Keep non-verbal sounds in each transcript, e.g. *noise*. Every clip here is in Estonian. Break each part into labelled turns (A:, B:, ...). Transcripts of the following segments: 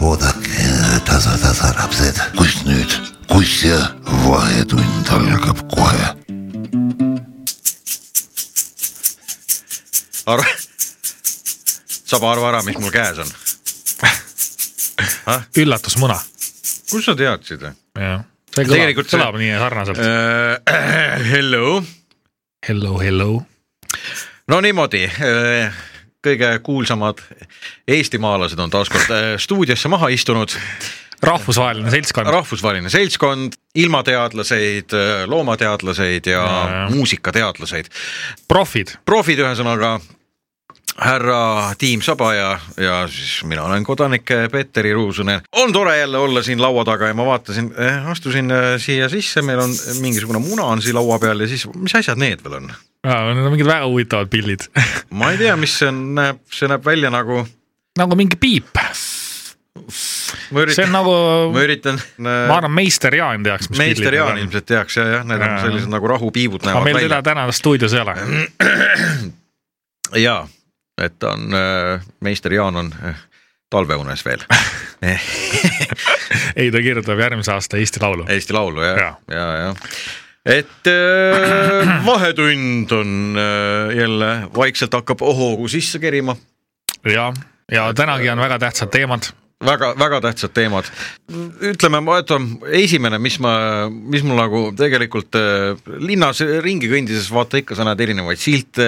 A: oodake tasa-tasa lapsed , kus nüüd , kus ja vahetund algab kohe .
B: Ar- , saba arva ära , mis mul käes on .
C: üllatusmuna .
B: kust sa teadsid ?
C: see kõlab ,
B: Tegelikult see-
C: kõlab nii sarnaselt .
B: Äh, Hello .
C: Hello , hello .
B: no niimoodi , kõige kuulsamad eestimaalased on taaskord äh, stuudiosse maha istunud ,
C: rahvusvaheline seltskond .
B: rahvusvaheline seltskond , ilmateadlaseid , loomateadlaseid ja
C: Ja, ja.
B: muusikateadlaseid ,
C: profid ,
B: profid ühesõnaga härra Tiim Saba ja , ja siis mina olen kodanik Peeter Iruusunen . on tore jälle olla siin laua taga ja ma vaatasin , astusin eh, siia sisse , meil on mingisugune muna on siin laua peal ja siis , mis asjad need veel on ?
C: need on mingid väga huvitavad pildid . *laughs*
B: ma ei tea , mis see on , näeb , see näeb välja nagu ,
C: nagu mingi piip ,
B: ma
C: see on
B: üritan ,
C: nagu ,
B: ma üritan ,
C: ma arvan , meister Jaan teaks , mis
B: meister
C: pildid
B: Jaan
C: need on .
B: ilmselt teaks ja jah , need on
C: Jaa.
B: sellised nagu rahupiibud
C: aga
B: näevad
C: meil teda
B: välja
C: täna stuudios ei ole .
B: ja et ta on , meister Jaan on eh, talveunes
C: *laughs*
B: veel
C: ei , ta kirjutab järgmise aasta Eesti Laulu .
B: Eesti Laulu jah , ja
C: Jaa. ,
B: ja, ja. , et äh, vahetund on äh, jälle vaikselt hakkab ohoogu sisse kerima
C: ja , ja tänagi on väga tähtsad teemad .
B: väga-väga tähtsad teemad . ütleme , ma ütlen , esimene , mis ma , mis mul nagu tegelikult äh, linnas ringi kõndides vaata ikka , sa näed erinevaid silte ,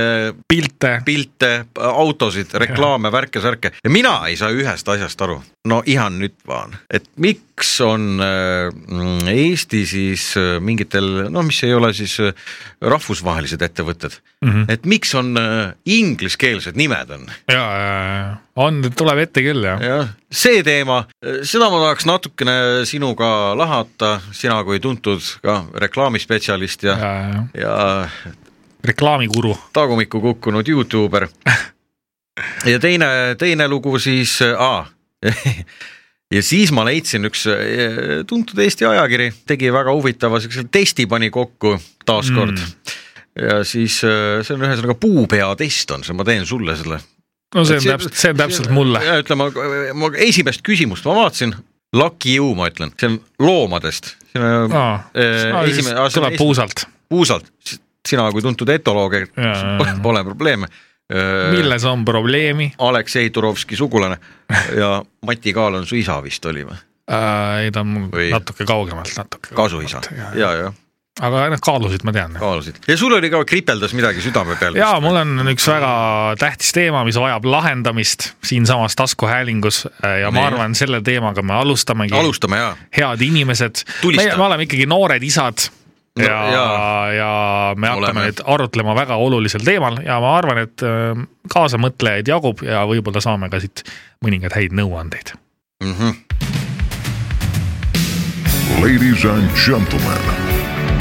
C: pilte ,
B: pilte , autosid , reklaame , värke-särke ja mina ei saa ühest asjast aru . no ihan nüüd vaan , et miks on äh, mm, Eesti siis äh, mingitel , noh , mis ei ole siis äh, rahvusvahelised ettevõtted mm , -hmm. et miks on äh, ingliskeelsed nimed on
C: ja , ja , ja on , tuleb ette küll jah .
B: jah , see teema , seda ma tahaks natukene sinuga lahata , sina kui tuntud ka reklaamispetsialist ja ,
C: ja , ja ,
B: ja
C: reklaamikuru ,
B: tagumikku kukkunud Youtuber . ja teine , teine lugu siis , aa , *laughs* ja siis ma leidsin üks eh, tuntud Eesti ajakiri , tegi väga huvitava siukse testi pani kokku taaskord mm. ja siis eh, see on ühesõnaga puupeatest on see , ma teen sulle selle
C: no see on
B: See-
C: täpselt , see on täpselt mulle .
B: ja ütleme , ma esimest küsimust ma vaatasin , Lucky You ma ütlen , see on loomadest , see on no, esimene
C: Äh, esimene ,
B: aasta
C: tuleb puusalt .
B: puusalt , sina kui tuntud etoloog ,
C: Jaa, jaa.
B: *laughs* pole probleeme . Äh,
C: milles on probleemi ?
B: Aleksei Turovski
C: *laughs*
B: sugulane ja Mati Kaal on su isa vist oli või ,
C: äh, . ei , ta on mul
B: Või-
C: natuke kaugemalt , natuke .
B: kasuisa
C: Jaa, ,
B: ja , ja
C: aga noh , kaalusid ma tean .
B: kaalusid ja sul oli ka kripeldas midagi südame peal .
C: ja mul on üks väga tähtis teema , mis vajab lahendamist siinsamas taskuhäälingus äh, ja
B: Nii.
C: ma arvan , selle teemaga me alustamegi .
B: alustame ja ,
C: head inimesed ,
B: Tulista.
C: me me oleme ikkagi noored isad
B: No,
C: ja
B: jaa.
C: no, , ja me hakkame
B: Oleme.
C: oleme. nüüd arutlema väga olulisel teemal ja ma arvan , et äh, kaasamõtlejaid jagub ja võib-olla saame ka siit mõningaid häid nõuandeid .
D: Ladies and gentlemen,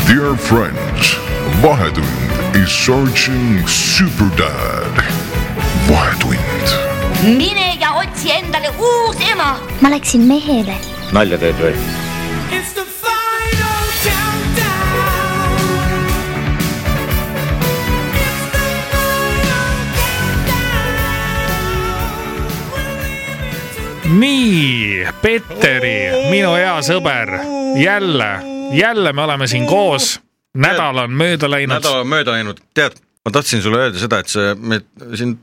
D: dear friends, Vahetund is searching Super Dad. Vahetund.
E: mine ja otsi endale uus ema .
F: ma läksin mehele .
G: nalja teed või ?
H: It's the final countdown. It's the final countdown. We're living together.
C: nii , Petteri , minu hea sõber , jälle , jälle me oleme siin koos . nädal on mööda läinud .
B: nädal on mööda läinud , tead , ma tahtsin sulle öelda seda , et see , me siin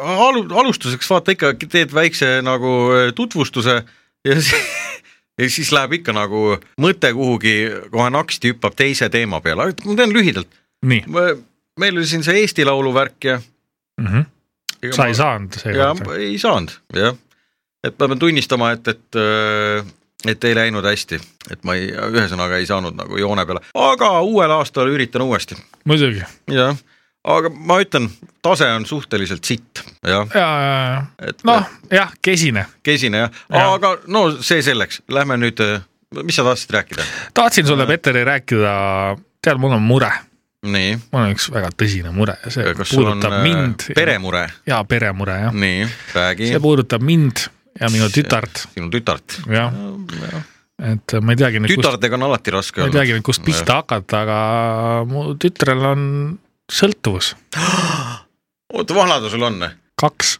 B: alu- , alustuseks vaata ikka teed väikse nagu tutvustuse ja *laughs* siis, ja siis läheb ikka nagu mõte kuhugi kohe naksti hüppab teise teema peale , aga ma teen lühidalt ,
C: nii ,
B: meil oli siin see Eesti Laulu värk ja Ega
C: Mhm. sa
B: ma-
C: ei saanud
B: ja
C: seekord .
B: ei saanud jah , et ma pean tunnistama , et , et äh, et ei läinud hästi , et ma ei , ühesõnaga ei saanud nagu joone peale , aga uuel aastal üritan uuesti
C: muidugi ,
B: jah , aga ma ütlen , tase on suhteliselt sitt , jah ,
C: ja , ja , ja ,
B: et
C: noh , jah , kesine
B: kesine jah ja. ,
C: Jah.
B: aga no see selleks , lähme nüüd , mis sa tahtsid rääkida ?
C: tahtsin sulle , Petteri , rääkida , tead , mul on mure ,
B: nii ,
C: mul on üks väga tõsine mure ja see
B: kas sul on
C: puudutab
B: äh,
C: mind .
B: peremure ?
C: jaa , peremure jah ,
B: nii , räägi
C: see puudutab mind ja minu tütart ,
B: sinu tütart .
C: jah , et ma ei teagi nüüd , kust ,
B: tütardega on alati raske
C: ma ei teagi
B: olnud .
C: nüüd , kust pihta hakata , aga mu tütrel on sõltuvus ,
B: oota , vana ta sul on ?
C: kaks ,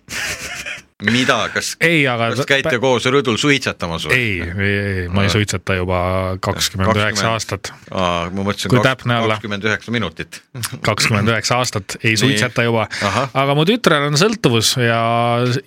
B: mida , kas ,
C: ei , aga .
B: kas käite koos rõdul suitsetamas või ?
C: ei , ei , ei , ma ei suitseta juba kakskümmend
B: 20.
C: üheksa aastat ,
B: aa , ma mõtlesin
C: Kui täpne olla.
B: kakskümmend üheksa minutit .
C: kakskümmend üheksa aastat ei suitseta juba
B: Ahah. .
C: aga mu tütrel on sõltuvus ja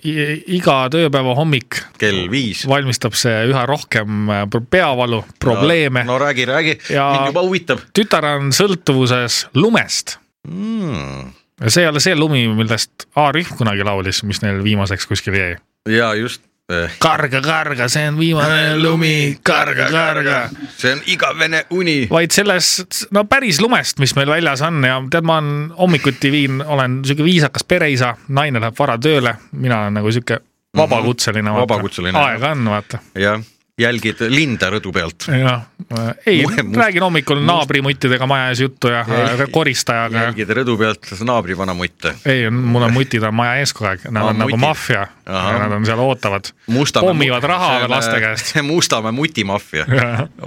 C: i- iga tööpäeva hommik
B: kell viis .
C: valmistab see üha rohkem pro- peavalu , probleeme .
B: no räägi , räägi
C: Ja-
B: ja... , mind juba huvitab
C: tütar on sõltuvuses lumest .
B: mm. .
C: see ei ole see lumi , millest A-rühm kunagi laulis , mis neil viimaseks kuskile jäi .
B: ja just , eh.
C: karga , karga , see on viimane lumi , karga , karga
B: see on igavene uni .
C: vaid selles , no päris lumest , mis meil väljas on ja tead , ma olen hommikuti viin , olen sihuke viisakas pereisa , naine läheb vara tööle , mina olen nagu sihuke vabakutseline .
B: Mhm. Vabakutseline.
C: aega on , vaata .
B: jah , jälgid linda rõdu pealt .
C: jah , ei
B: Must- , must-
C: räägin hommikul naabrimuttidega maja ees juttu ja
B: Jälgi-
C: äh, koristajaga ja
B: jälgid rõdu pealt naabri vana mutte .
C: ei , mul on mutid on maja ees kogu aeg , nad
B: Aa,
C: on nagu
B: Ah, mutid.
C: maffia ,
B: Ahah.
C: nad on seal ootavad , pommivad raha laste
B: *laughs*
C: käest .
B: eh, Mustamäe mutimaffia .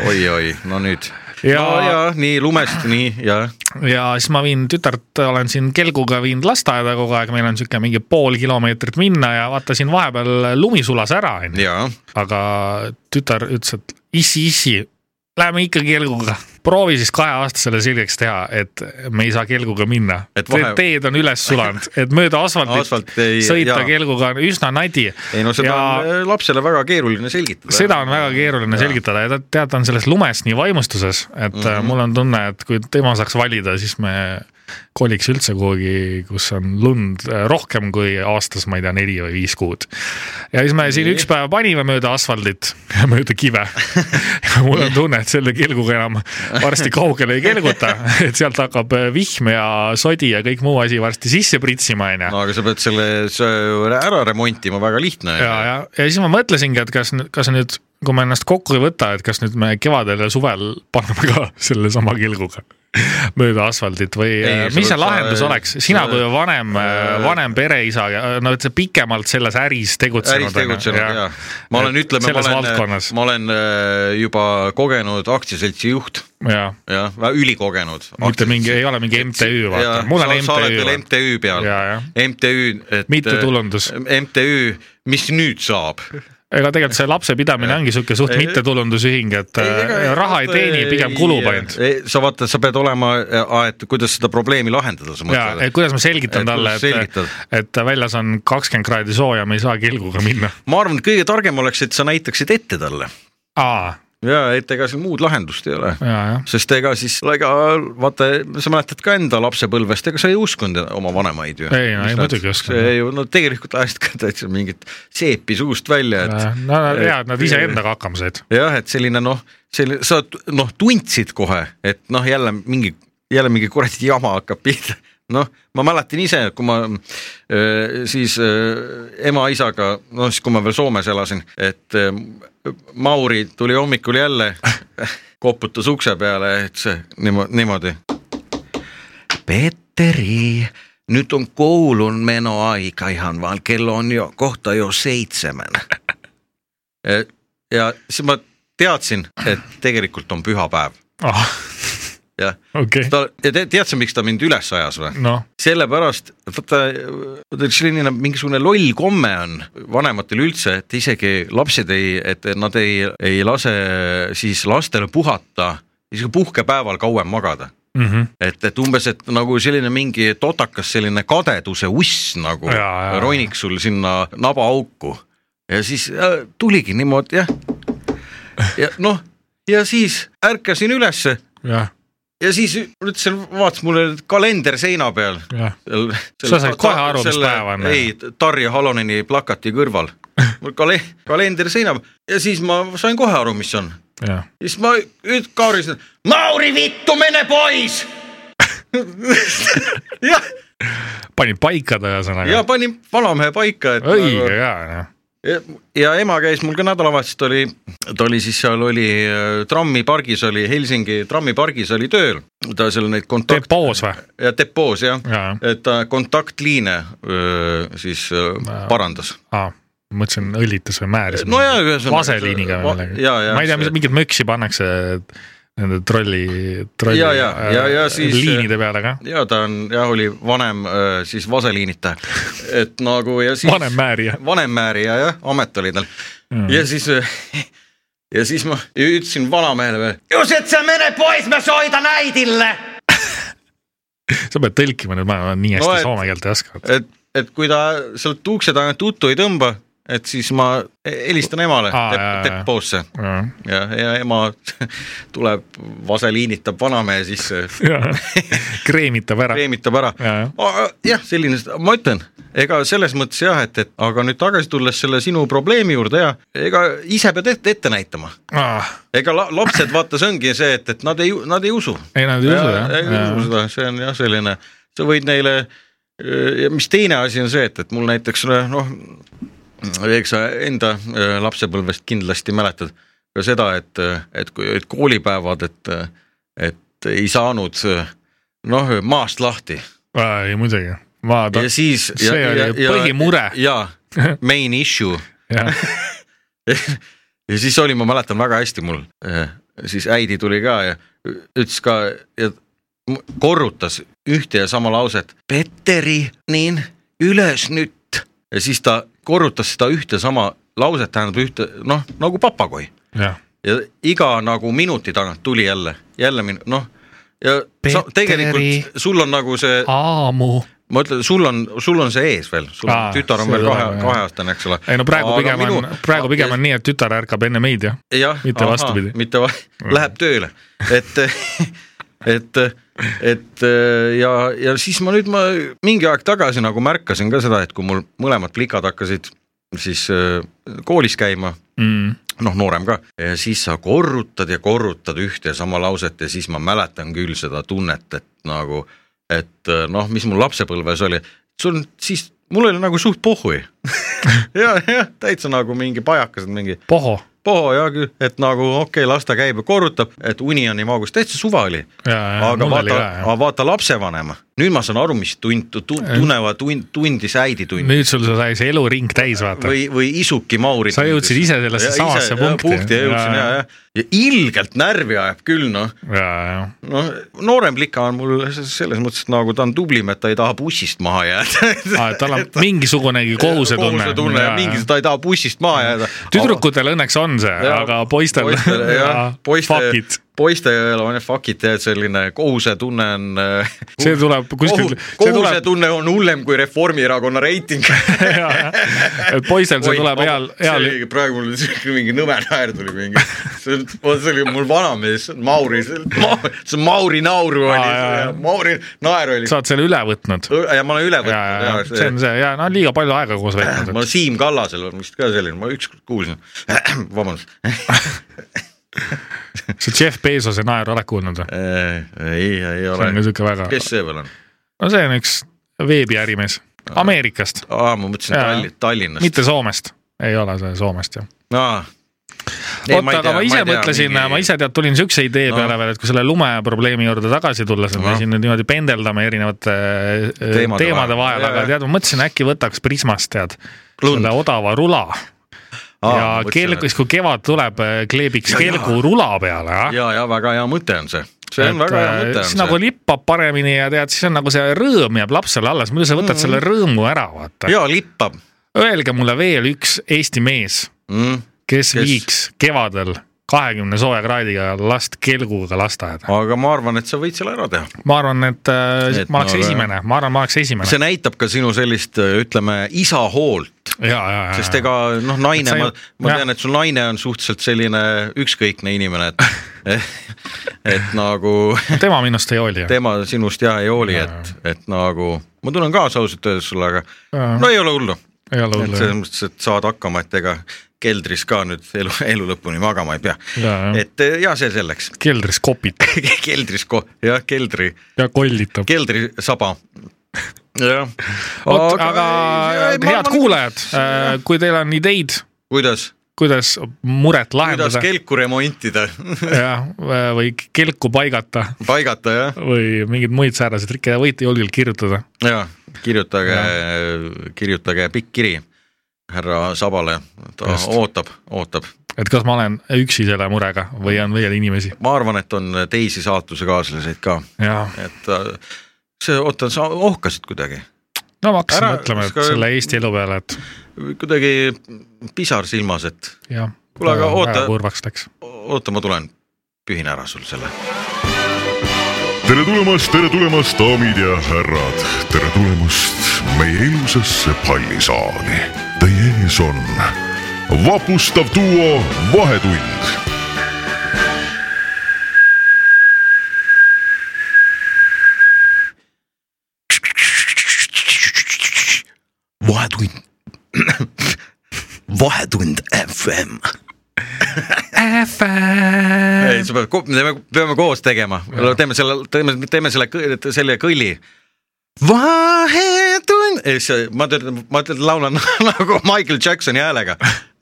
B: oi-oi , no nüüd .
C: Ja-
B: ja no, , ja nii lumest , nii ja
C: ja siis ma viin tütart , olen siin kelguga viinud lasteaeda kogu aeg , meil on sihuke mingi pool kilomeetrit minna ja vaata siin vahepeal lumi sulas ära , onju .
B: ja
C: aga tütar ütles , et issi , issi , lähme ikka kelguga . proovi siis kaheaastasele selgeks teha , et me ei saa kelguga minna .
B: Et vahe-
C: teed on üles sulanud , et mööda asfaldit
B: Asfalt ei-
C: sõita
B: jaa.
C: kelguga on üsna nadi .
B: ei no seda
C: ja...
B: ja... on äh, lapsele väga keeruline selgitada .
C: seda on väga keeruline
B: Jaa.
C: selgitada ja ta tead , ta on selles lumes nii vaimustuses , et mm
B: Mhm.
C: -hmm. mul on tunne , et kui tema saaks valida , siis me koliks üldse kuhugi , kus on lund äh, rohkem kui aastas , ma ei tea , neli või viis kuud . ja siis me siin üks päev panime mööda asfaldit ja mööda
B: *laughs*
C: kive . ja mul on tunne , et selle kelguga enam varsti kaugele ei kelguta , et sealt hakkab äh, vihm ja sodi ja kõik muu asi varsti sisse pritsima , onju .
B: no aga sa pead selle see ära remontima , väga lihtne .
C: ja , ja , ja siis ma mõtlesingi , et kas , kas nüüd , kui ma ennast kokku ei võta , et kas nüüd me kevadel ja suvel paneme ka *laughs* sellesama kilguga *laughs* mööda asfaldit või äh,
B: Ei,
C: mis
B: sa-
C: see lahendus
B: sa-
C: oleks , sina
B: sa-
C: kui vanem ,
B: äh,
C: vanem pereisa , no et sa pikemalt selles äris tegutsenud .
B: äris tegutsenud ja, ja. ma olen , ütleme , ma
C: selles
B: olen
C: valdkonnas ,
B: ma olen äh, juba kogenud aktsiaseltsi juht ,
C: ja
B: jah , ülikogenud .
C: mitte mingi , ei ole mingi MTÜ , vaata , mul on
B: sa oled veel
C: MTÜ .
B: MTÜ peal
C: Ja, ja. ,
B: MTÜ , et . äh,
C: Mittetulundus.
B: MTÜ , mis nüüd saab ?
C: ega tegelikult see lapsepidamine ongi sihuke suht
B: Ei-
C: mittetulundusühing , et äh, raha ei teeni , pigem kulub ainult .
B: sa vaata , sa pead olema , et kuidas seda probleemi lahendada , sa
C: ja , et
B: mõtled .
C: kuidas ma selgitan
B: Et
C: talle ,
B: kuidas
C: et
B: selgitad? ,
C: et väljas on kakskümmend kraadi sooja , me ei saa kilguga minna .
B: ma arvan , et kõige targem oleks , et sa näitaksid ette talle
C: aa ,
B: ja et ega siin muud lahendust ei ole
C: ja , jah .
B: sest ega siis , ega vaata , sa mäletad ka enda lapsepõlvest , ega sa ei uskunud oma vanemaid ju .
C: Ei, no ei, muidugi ei uskunud.
B: ei , no tegelikult ajasid ka täitsa mingit seepi suust välja , et .
C: no nad- jaa , nad iseendaga hakkama said .
B: jah , et selline noh , selline sa t- noh tundsid kohe , et noh , jälle mingi , jälle mingi kuradi jama hakkab pihta . noh , ma mäletan ise , kui ma öö, siis öö, ema-isaga , noh siis kui ma veel Soomes elasin , et öö, Mauri tuli hommikul jälle , koputas ukse peale , et see niimoodi , niimoodi . Petteri , nyt on koulun menoaika ihan vaan kello on jo kohta jo seitsemän . Eh, ja siis ma teadsin , et tegelikult on pühapäev ja
C: Ah, *laughs* okei ,
B: ta ja te, tead sa , miks ta mind üles ajas või ?
C: noh ,
B: sellepärast , vaata , vaata selline nagu mingisugune loll komme on vanematel üldse , et isegi lapsed ei , et nad ei , ei lase siis lastele puhata , isegi puhkepäeval kauem magada
C: mhm.
B: et , et umbes , et nagu selline mingi totakas selline kadeduse uss nagu
C: Jaa, jaa, jaa.
B: roniks sul sinna nabaauku ja siis äh, tuligi niimoodi jah . ja noh , ja siis ärkasin ülesse
C: jah ,
B: ja siis ütlesin , vaatas mulle kalender seina peal .
C: jah . Sa said kohe aru, mis päev on, jah.
B: ei , Tarja Haloneni plakati kõrval . mul kale- , kalender seina peal ja siis ma sain kohe aru , mis on
C: jah ,
B: ja siis ma nüüd kaarisin , Mauri vittu , mene poiss . jah ,
C: panid paika ta
B: ja
C: ühesõnaga .
B: panin vanamehe paika , et .
C: õige jaa , jah .
B: ja ema käis mul ka nädalavahetusest oli , ta oli siis seal oli äh, trammipargis oli Helsingi trammipargis oli tööl , ta seal neid kontakt- .
C: depoos või ?
B: ja depoos jah
C: Jaa.
B: ja. , et ta kontaktliine öö, siis öö, parandas .
C: aa , Ah, mõtlesin õllitus või määris .
B: No jaa, ühesõnaga-
C: vaseliiniga või
B: va-
C: millegagi
B: jaa, jaa,
C: ma ei tea ,
B: see-
C: mis mingit möksi pannakse nende trolli , trolli
B: Ja, ja,
C: äh,
B: ja, ja siis- äh,
C: liinide peale ka .
B: ja ta on jah , oli vanem äh, siis vaseliinita , et nagu ja siis
C: vanem määrija .
B: vanem määrija jah , amet oli tal mm. ja siis äh, ja siis ma ütlesin vanamehele veel , just , et sa mene pois , ma soitan äidile .
C: sa pead tõlkima nüüd , ma nii hästi
B: No
C: no,
B: et-
C: soome keelt ei oska .
B: et , et kui ta sealt ukse tagant tuttu ei tõmba , et siis ma helistan emale
C: Aa,
B: tepp
C: jaa, jaa. ,
B: teppoosse ja , ja ema *laughs* tuleb , vaseliinitab vanamehe sisse , *laughs*
C: kreemitab ära .
B: kreemitab ära
C: Jaa, jah.
B: Ah, jah , selline , ma ütlen , ega selles mõttes jah , et , et aga nüüd tagasi tulles selle sinu probleemi juurde ja ega ise pead ette, ette näitama ,
C: Ah,
B: ega la, lapsed , vaata , see ongi see , et , et nad ei , nad ei usu .
C: ei , nad ei usu jah
B: ei usu . seda , see on jah , selline , sa võid neile eh, ja mis teine asi on see , et , et mul näiteks noh , eks sa enda öö, lapsepõlvest kindlasti mäletad ka seda , et , et kui olid koolipäevad , et , et ei saanud öö, noh , maast lahti
C: ei muidugi , ma ta...
B: ja , siis .
C: see oli põhimure.
B: jaa , main issue
C: jah ,
B: ja siis oli , ma mäletan väga hästi mul , siis äidi tuli ka ja ütles ka ja m- korrutas ühte ja sama lauset . Petteri , nii , üles nüüd . ja siis ta korrutas seda ühte sama lauset , tähendab ühte noh , nagu papagoi
C: jah .
B: ja iga nagu minuti tagant tuli jälle , jälle minu- , noh ja sa,
C: Petteri.
B: tegelikult sul on nagu see ,
C: aamu .
B: ma ütlen , sul on , sul on see ees veel , sul
C: Aa,
B: on, tütar on
C: see
B: veel
C: tuleb,
B: kahe ,
C: jah.
B: kaheaastane , eks ole .
C: ei no praegu pigem on , praegu pigem on nii , et tütar ärkab enne meid jah .
B: jah ,
C: mitte vastupidi.
B: mitte va läheb tööle , et *laughs* et , et ja , ja siis ma nüüd ma mingi aeg tagasi nagu märkasin ka seda , et kui mul mõlemad plikad hakkasid siis äh, koolis käima ,
C: mm. .
B: noh , noorem ka , siis sa korrutad ja korrutad ühte ja sama lauset ja siis ma mäletan küll seda tunnet , et nagu , et äh, noh , mis mul lapsepõlves oli , sul on siis , mul oli nagu suht pohhui . *laughs* ja , jah , täitsa nagu mingi pajakas , mingi
C: Poho ,
B: poho hea küll , et nagu okei okay, , las ta käib ja korrutab , et uni on nii magus , täitsa suva oli .
C: Jaa, jaa,
B: aga
C: mul
B: vaata
C: oli ka, , jah.
B: aga vaata lapsevanema , nüüd ma saan aru , mis tund tu, , tunnevad tund , tundis äidi tund
C: nüüd sul sai see eluring täis vaata .
B: või , või isuki Mauri .
C: Sa jõudsid ise sellesse samasse punkti.
B: punkti ja jõudsin ja ,
C: Jaa, jaa.
B: ja , ja ilgelt närvi ajab küll noh ,
C: ja , ja ,
B: noh noorem plika on mul selles mõttes , et nagu ta on tublim , et ta ei taha bussist maha jääda .
C: ja
B: *laughs*
C: tal on mingisugunegi kohusetunne .
B: kohusetunne ja mingi , ta ei taha bussist maha jääda .
C: tüdrukutel õnneks on see ,
B: Ja
C: aga poistel ,
B: poistel jah ,
C: *laughs* fuck
B: poiste
C: it .,
B: poistel on jah fuck it jah , et selline kohusetunne on .
C: see tuleb kuskil , see tuleb ,
B: kohusetunne on hullem kui Reformierakonna
C: *laughs*
B: reiting .
C: et poistel see tuleb heal , heal ,
B: praegu mul siuke mingi nõme naer tuli mingi , see on- vot see oli mul vanamees Mauri , see Mauri nauru
C: Aa, jaa,
B: oli
C: jaa. ,
B: Mauri naer oli
C: sa oled selle üle võtnud .
B: ja ma olen üle
C: ja , ja ,
B: võtnud Äh,
C: see on
B: ja
C: see ja no liiga palju aega koos veetnud ,
B: ma Siim Kallasel on vist ka selline , ma ükskord kuulsin , *clears throat* vabandust , *laughs*
C: et see Jeff Bezose naer oled kuulnud või ?
B: ei , ei
C: see on ka
B: ole ,
C: siuke väga ,
B: kes see veel on ?
C: no see on üks veebiärimees
B: Äh,
C: Ameerikast ,
B: aa , ma mõtlesin
C: Jaa.
B: Tallinn , Tallinnast .
C: mitte Soomest , ei ole see Soomest jah .
B: aa .
C: oota , aga ma ise mõtlesin , ma ise tead , tulin siukse idee
B: No.
C: peale veel , et kui selle lumeprobleemi juurde tagasi tulles , et me
B: Ahah.
C: siin nüüd niimoodi pendeldame erinevate äh,
B: Teemade
C: teemade
B: vahel.
C: vahel ,
B: Jaa,
C: aga
B: jaa.
C: tead , ma mõtlesin , äkki võtaks Prismast tead
B: Lund.
C: selle odava rula ja kelgus , kui kevad tuleb ,
B: Jaa,
C: kleebiks
B: jaa.
C: kelgu rula peale ah?
B: ja , ja väga hea mõte on see , see on väga hea
C: äh,
B: mõte
C: siis
B: on
C: nagu
B: see .
C: lippab paremini ja tead , siis on nagu see rõõm jääb lapsele alles , muidu sa võtad mm -hmm. selle rõõmu ära , vaata .
B: ja lippab
C: Öelge mulle veel üks Eesti mees ,
B: mm. .
C: kes
B: Kes?
C: viiks kevadel kahekümne sooja kraadiga last kelguga lasteaeda .
B: aga ma arvan , et sa võid selle ära teha ,
C: ma arvan , et, äh,
B: Ah. Et
C: ma oleks
B: ma-
C: esimene , ma arvan , ma oleks esimene .
B: see näitab ka sinu sellist , ütleme isa hoolt ,
C: ja , ja , ja .
B: sest ega noh , naine ,
C: sa ju-
B: ma , ma
C: jah.
B: tean , et sul naine on suhteliselt selline ükskõikne inimene , et *laughs* et nagu
C: tema minust ei hooli .
B: tema sinust jah ei hooli , et , et nagu ma tunnen kaasa ausalt öeldes sulle , aga
C: Jaa.
B: no ei ole hullu
C: ei ole
B: et
C: hullu
B: selles . mõttes , et saad hakkama , et ega keldris ka nüüd elu , elu lõpuni magama ei pea .
C: Jaa, jah.
B: et eh, ja see selleks , *laughs*
C: keldris kopitab
B: keldris ko- , jah , keldri ,
C: ja kollitab .
B: keldrisaba . jah .
C: vot , aga äh, head . kuulajad , kui teil on ideid ,
B: kuidas ,
C: kuidas muret
B: kuidas
C: lahendada ,
B: kelku remontida ,
C: *laughs*
B: *laughs*
C: jah , või kelku paigata
B: paigata jah ,
C: või mingeid muid sääraseid trikke , võite julgelt kirjutada .
B: ja kirjutage , kirjutage pikk kiri härra Sabale , ta
C: Just.
B: ootab , ootab
C: et kas ma olen üksi selle murega või on veel inimesi
B: ma arvan , et on teisi saatusekaaslased ka ,
C: ja
B: et äh, see , oota , sa ohkasid kuidagi ,
C: no ma hakkasin
B: Ära-
C: mõtlema et
B: kas ka-
C: selle Eesti elu peale , et
B: kuidagi pisar silmas , et
C: jah .
B: Kuule, aga oota-
C: kurvaks läks .
B: oota , ma tulen , pühin ära sul selle .
D: tere tulemast , tere tulemast , daamid ja härrad , tere tulemast meie ilusasse pallisaali . Teie ees on vapustav duo Vahetund .
B: vahetund , vahetund FM . ei , sa pead , me teeme , peame koos tegema , teeme selle , teeme , teeme selle , selle kõlli . vahetund , ei see , ma töötan , ma töötan , laulan *laughs* nagu Michael Jacksoni häälega ,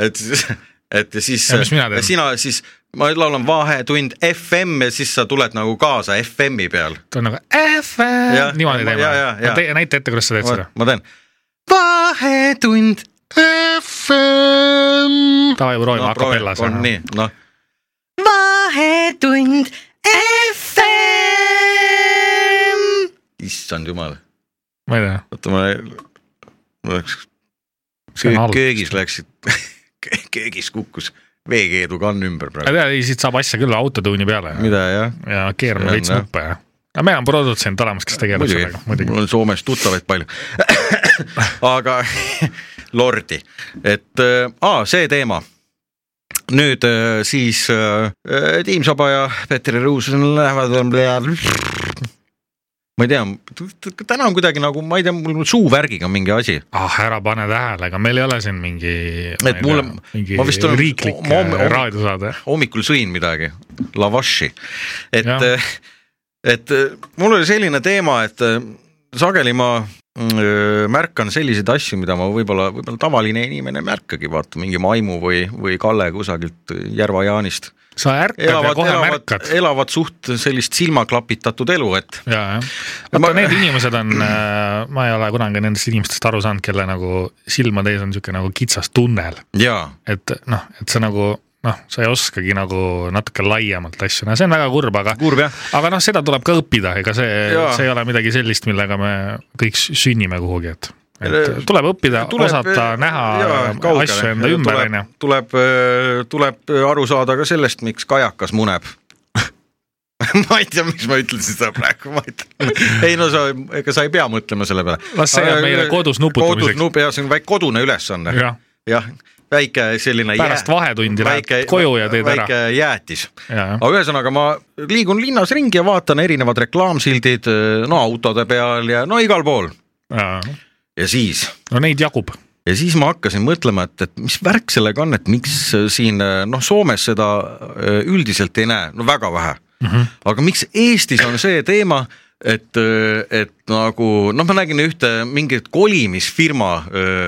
B: et siis , et ja siis
C: Ja mis mina teen?
B: sina siis , ma laulan Vahetund FM ja siis sa tuled nagu kaasa FM-i peal .
C: ta on nagu FM ,
B: Jah,
C: niimoodi
B: ja-
C: teeme
B: ja- ja- . ja.
C: tee , näita ette , kuidas sa teed seda .
B: ma teen . vahetund FM .
C: davai , proovime no, akapellas .
B: on nii , noh .
F: vahetund FM .
B: issand jumal ,
C: ma ei tea ,
B: oota ma , ma läks ,
C: see on halb .
B: köögis läksid , *laughs* köögis kukkus veekeedukann ümber
C: ma ei
B: praegu .
C: tea , ei siit saab asja küll autotuuni peale
B: mida jah ?
C: ja keerame
B: See on,
C: veits
B: jah.
C: nuppe ja . aga meil on produtsent olemas , kes tegeleb
B: muidugi
C: sellega ,,
B: mul
C: muidugi .
B: on Soomes tuttavaid palju . *coughs* aga *coughs* lordi , et äh, aa, see teema . nüüd äh, siis äh, Tiim Saba ja Petri Ruus lähevad . ma ei tea , täna on kuidagi nagu , ma ei tea , mul on suuvärgiga mingi asi ,
C: ah , ära pane tähele , aga meil ei ole siin mingi .
B: Et mulle-
C: mingi
B: ma vist olen-
C: riiklik
B: ma homme-
C: äh, raadiosaade .
B: hommikul sõin midagi , lavashi , et eh,
C: Jah. ,
B: et äh, mul oli selline teema , et äh, sageli ma mm, märkan selliseid asju , mida ma võib-olla , võib-olla tavaline inimene ei märkagi , vaata mingi Maimu või , või Kalle kusagilt Järva-Jaanist .
C: sa ärkad ja
B: elavad ,
C: kohe
B: elavad
C: märkad ,.
B: elavad suht sellist silmaklapitatud elu , et
C: ja , jah . vaata , need inimesed on , ma ei ole kunagi nendest inimestest aru saanud , kelle nagu silmade ees on sihuke nagu kitsas tunnel .
B: jaa ,
C: et noh , et sa nagu noh , sa ei oskagi nagu natuke laiemalt asju näha , see on väga kurb , aga ,
B: kurb jah ,
C: aga noh , seda tuleb ka õppida , ega see ,
B: Jaa.
C: see ei ole midagi sellist , millega me kõik s- sünnime kuhugi , et .
B: Ele-
C: et Äh, tuleb õppida , osata näha jaa, asju enda ümber , onju .
B: äh, tuleb , tuleb äh, aru saada ka sellest , miks kajakas muneb . *laughs* ma ei tea , miks ma ütlesin seda praegu , ma ei tea . *laughs* ei no sa , ega sa ei pea mõtlema selle peale .
C: Las see jääb meile kodus nuputamiseks.
B: kodus nup- , jah , see on väike kodune ülesanne ,
C: jah ,
B: jah , väike selline .
C: pärast vahetundi lähed koju ja teed ära .
B: väike jäätis
C: jaa ,
B: aga ühesõnaga ma liigun linnas ringi ja vaatan erinevad reklaamsildid , no autode peal ja no igal pool
C: jaa ,
B: ja siis
C: no neid jagub .
B: ja siis ma hakkasin mõtlema , et , et mis värk sellega on , et miks siin noh , Soomes seda öö, üldiselt ei näe , no väga vähe mm . -hmm. aga miks Eestis on see teema , et , et nagu noh , ma nägin ühte mingit kolimisfirma ,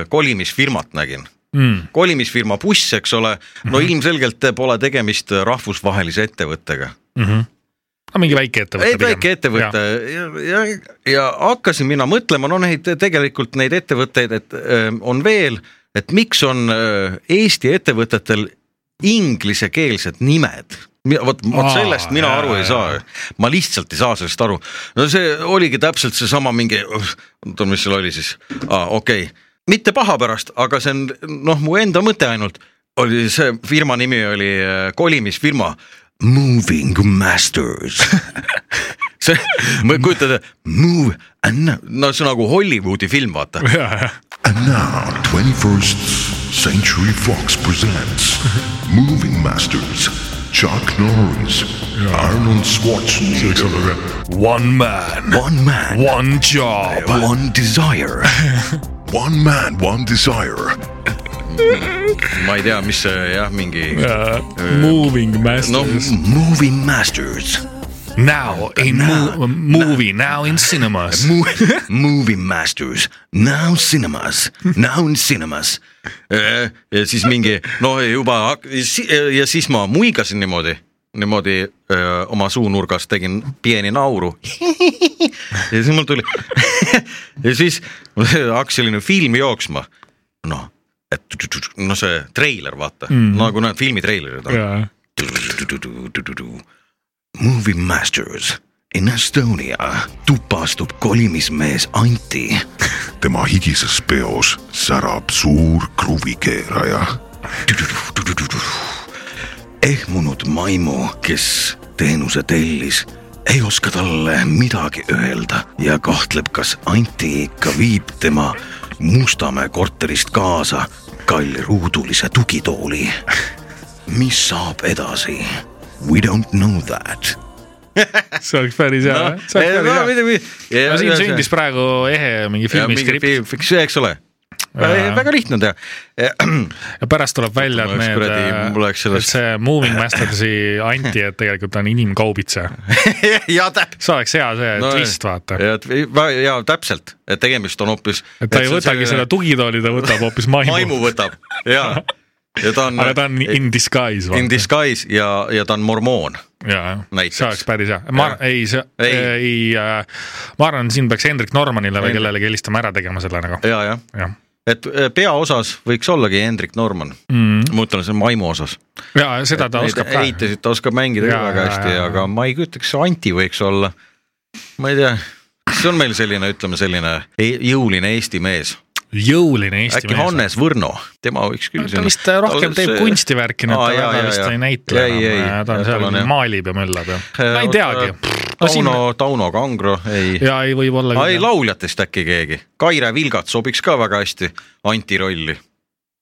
B: kolimisfirmat nägin
C: Mm.
B: kolimisfirma buss , eks ole , no mm -hmm. ilmselgelt pole tegemist rahvusvahelise ettevõttega .
C: no mingi väike ettevõte
B: ei , väike ettevõte ja, ja, ja, ja hakkasin mina mõtlema , no neid tegelikult neid ettevõtteid , et öö, on veel , et miks on öö, Eesti ettevõtetel inglisekeelsed nimed . vot , vot
C: Aa,
B: sellest mina
C: jaa,
B: aru ei
C: jaa.
B: saa , ma lihtsalt ei saa sellest aru . no see oligi täpselt seesama mingi , oota , mis seal oli siis , okei , mitte paha pärast , aga see on noh , mu enda mõte ainult oli see firma nimi oli öö, kolimisfirma Moving Masters . *laughs* see , ma ei kujuta ette , move and now. no see on nagu Hollywoodi film , vaata .
C: jaa ,
D: And now, 21st Century Fox presents Moving Masters Chuck Norris, Arnold Schwarzenegger,
C: One man ,
A: One man ,
C: one job .
A: one desire .
D: One Man, One Desire
B: ma ei tea , mis see jah , mingi noh,
C: Moving masters
B: no
C: no, .
A: Moving masters ,
C: now in mo movie , now in cinemas .
A: movie masters , now
B: *laughs*
A: cinemas , now in cinemas .
B: Äh, ja siis mingi noh , juba hak- si- ja siis ma muigasin niimoodi , niimoodi öö, oma suunurgas tegin pieni nauru . *laughs* ja siis *laughs* mul tuli ja siis mul hakkas selline film jooksma . noh , et tšu-tšu-tšu, noh , see treiler , vaata mm. , nagu need filmitreilerid on .
C: jaa .
B: Movie Masters in Estonia tuppa astub kolimismees Anti .
D: tema higises peos särab suur kruvikeeraja .
B: ehmunud maimu , kes teenuse tellis , ei oska talle midagi öelda ja kahtleb , kas Anti ikka viib tema Mustamäe korterist kaasa kallruudulise tugitooli . mis saab edasi ? We don't know that .
C: see oleks päris hea no, , see oleks päris hea . no siin sündis praegu ehe mingi
B: ja mingi
C: filmiskript
B: film , eks ole .
C: Jaa.
B: väga lihtne on
C: *laughs*
B: teha .
C: ja pärast tuleb välja , et
B: Mul läks kuradi- mul
C: need ,
B: läks sellest-
C: et see Moving Mastersi anti , et tegelikult ta on inimkaubitse .
B: ja täp- .
C: see oleks hea see no, twist , vaata .
B: ja, ja täpselt , et tegemist on hoopis .
C: et ta ei võtagi seda tugitooli , ta võtab hoopis maimu,
B: maimu
C: maimu ,
B: võtab ja , ja ta on .
C: *laughs* aga ta on in disguise ,
B: in
C: vaata .
B: disguise ja , ja ta on mormoon .
C: jaa ,
B: näiteks.
C: see oleks päris hea , ma
B: Jah.
C: ei , see
B: Ei.
C: ei, ei , ma arvan , siin peaks Hendrik Normanile või
B: Hendrik-
C: kellelegi helistama ära tegema selle nagu ,
B: ja , jah ,
C: jah .
B: et peaosas võiks ollagi Hendrik Norman
C: Mm.
B: ma mõtlen , see on maimu osas .
C: ja seda ta oskab ka .
B: eitasid , ta oskab mängida
C: Jaa,
B: küll väga
C: jaa,
B: hästi ,
C: jaa.
B: aga ma ei kujutaks , Anti võiks olla . ma ei tea , kas on meil selline , ütleme selline e- jõuline Eesti mees ,
C: jõuline Eesti
B: äkki Hannes Võrno , tema võiks küll .
C: ta vist äh, rohkem teeb kunstivärki , nii et ta väga vist ei näitle
B: ei , ei
C: enam ,, ta on seal maalib ja möllab ja ,
B: Äh,
C: ma ei teagi .
B: Tauno , Tauno Kangro , ei .
C: ja ei võib-olla
B: ei , lauljatest äkki keegi , Kaire Vilgat sobiks ka väga hästi Anti rolli ,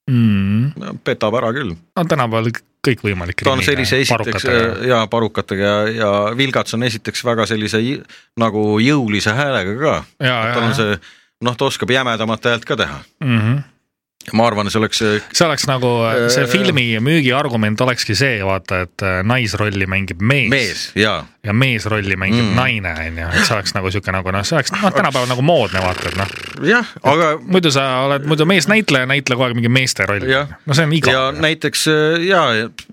C: mm, .
B: petab ära küll .
C: no tänapäeval kõikvõimalik .
B: ta on sellise esiteks äh, ja parukatega ja , ja Vilgats on esiteks väga sellise jõ- nagu jõulise häälega ka ,
C: Jaa, jaa,
B: äh, tal on
C: jaa.
B: see noh , ta oskab jämedamat häält ka teha ,
C: mm . -hmm.
B: ma arvan , see oleks äh,
C: see oleks nagu
B: Äh,
C: see filmi müügiargument olekski see , vaata , et äh, naisrolli mängib mees,
B: mees ja
C: ja meesrolli mängib
B: Mm.
C: mm. naine , onju , et see oleks nagu siuke nagu noh , see oleks noh , tänapäeval nagu moodne vaata , et noh ,
B: jah , aga
C: muidu sa oled muidu meesnäitleja , näitle kogu aeg mingi meeste rolli
B: Jah. .
C: no see on
B: ja
C: igav .
B: näiteks äh, ja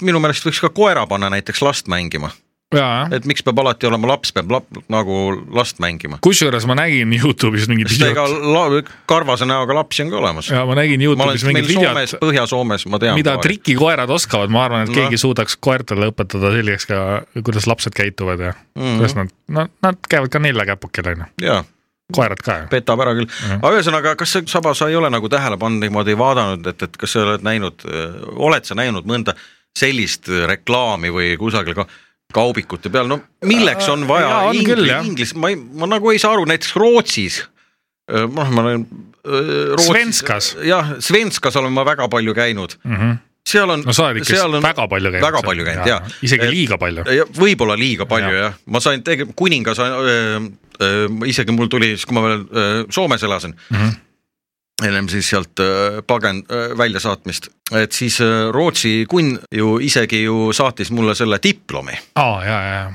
B: minu meelest võiks ka koera panna näiteks last mängima ,
C: jaa ,
B: et miks peab alati olema laps , peab lap, nagu last mängima .
C: kusjuures ma nägin Youtube'is mingit
B: sest ega
C: videot ,
B: la- karvase näoga lapsi on ka olemas .
C: ja ma nägin
B: ma olen
C: Youtube'is
B: meil
C: mingit
B: Soomes
C: videot ,,
B: Põhja-Soomes ma tean .
C: mida trikikoerad oskavad , ma arvan , et
B: Noh.
C: keegi suudaks koertele õpetada selgeks ka , kuidas lapsed käituvad ja
B: Mhm.
C: kuidas nad , no nad käivad ka neljakäpukil onju ,
B: jaa ,
C: koerad ka ju .
B: petab ära küll , aga ühesõnaga , kas sa , Saba , sa ei ole nagu tähele pannud , niimoodi vaadanud , et , et kas sa oled näinud , oled sa näinud mõnda sellist reklaami või kusagil ka kaubikute peal , no milleks on
C: Jaa,
B: vaja
C: on küll, jah.
B: inglis , ma ei , ma nagu ei saa aru , näiteks Rootsis , noh , ma olen .
C: Svenskas. .
B: jah , Svenskas olen ma väga palju käinud , seal on .
C: no sa oled ikka väga palju käinud .
B: väga palju käinud , jaa .
C: isegi liiga palju .
B: Ja Äh, võib-olla liiga palju
C: Jah.
B: jah ja. , ma sain tege- , kuningas , isegi mul tuli siis , kui ma veel öö, Soomes elasin mm ,
C: Mhm.
B: -hmm. ennem siis sealt öö, pagen- , väljasaatmist , et siis öö, Rootsi kunn ju isegi ju saatis mulle selle diplomi
C: aa , ja , ja ,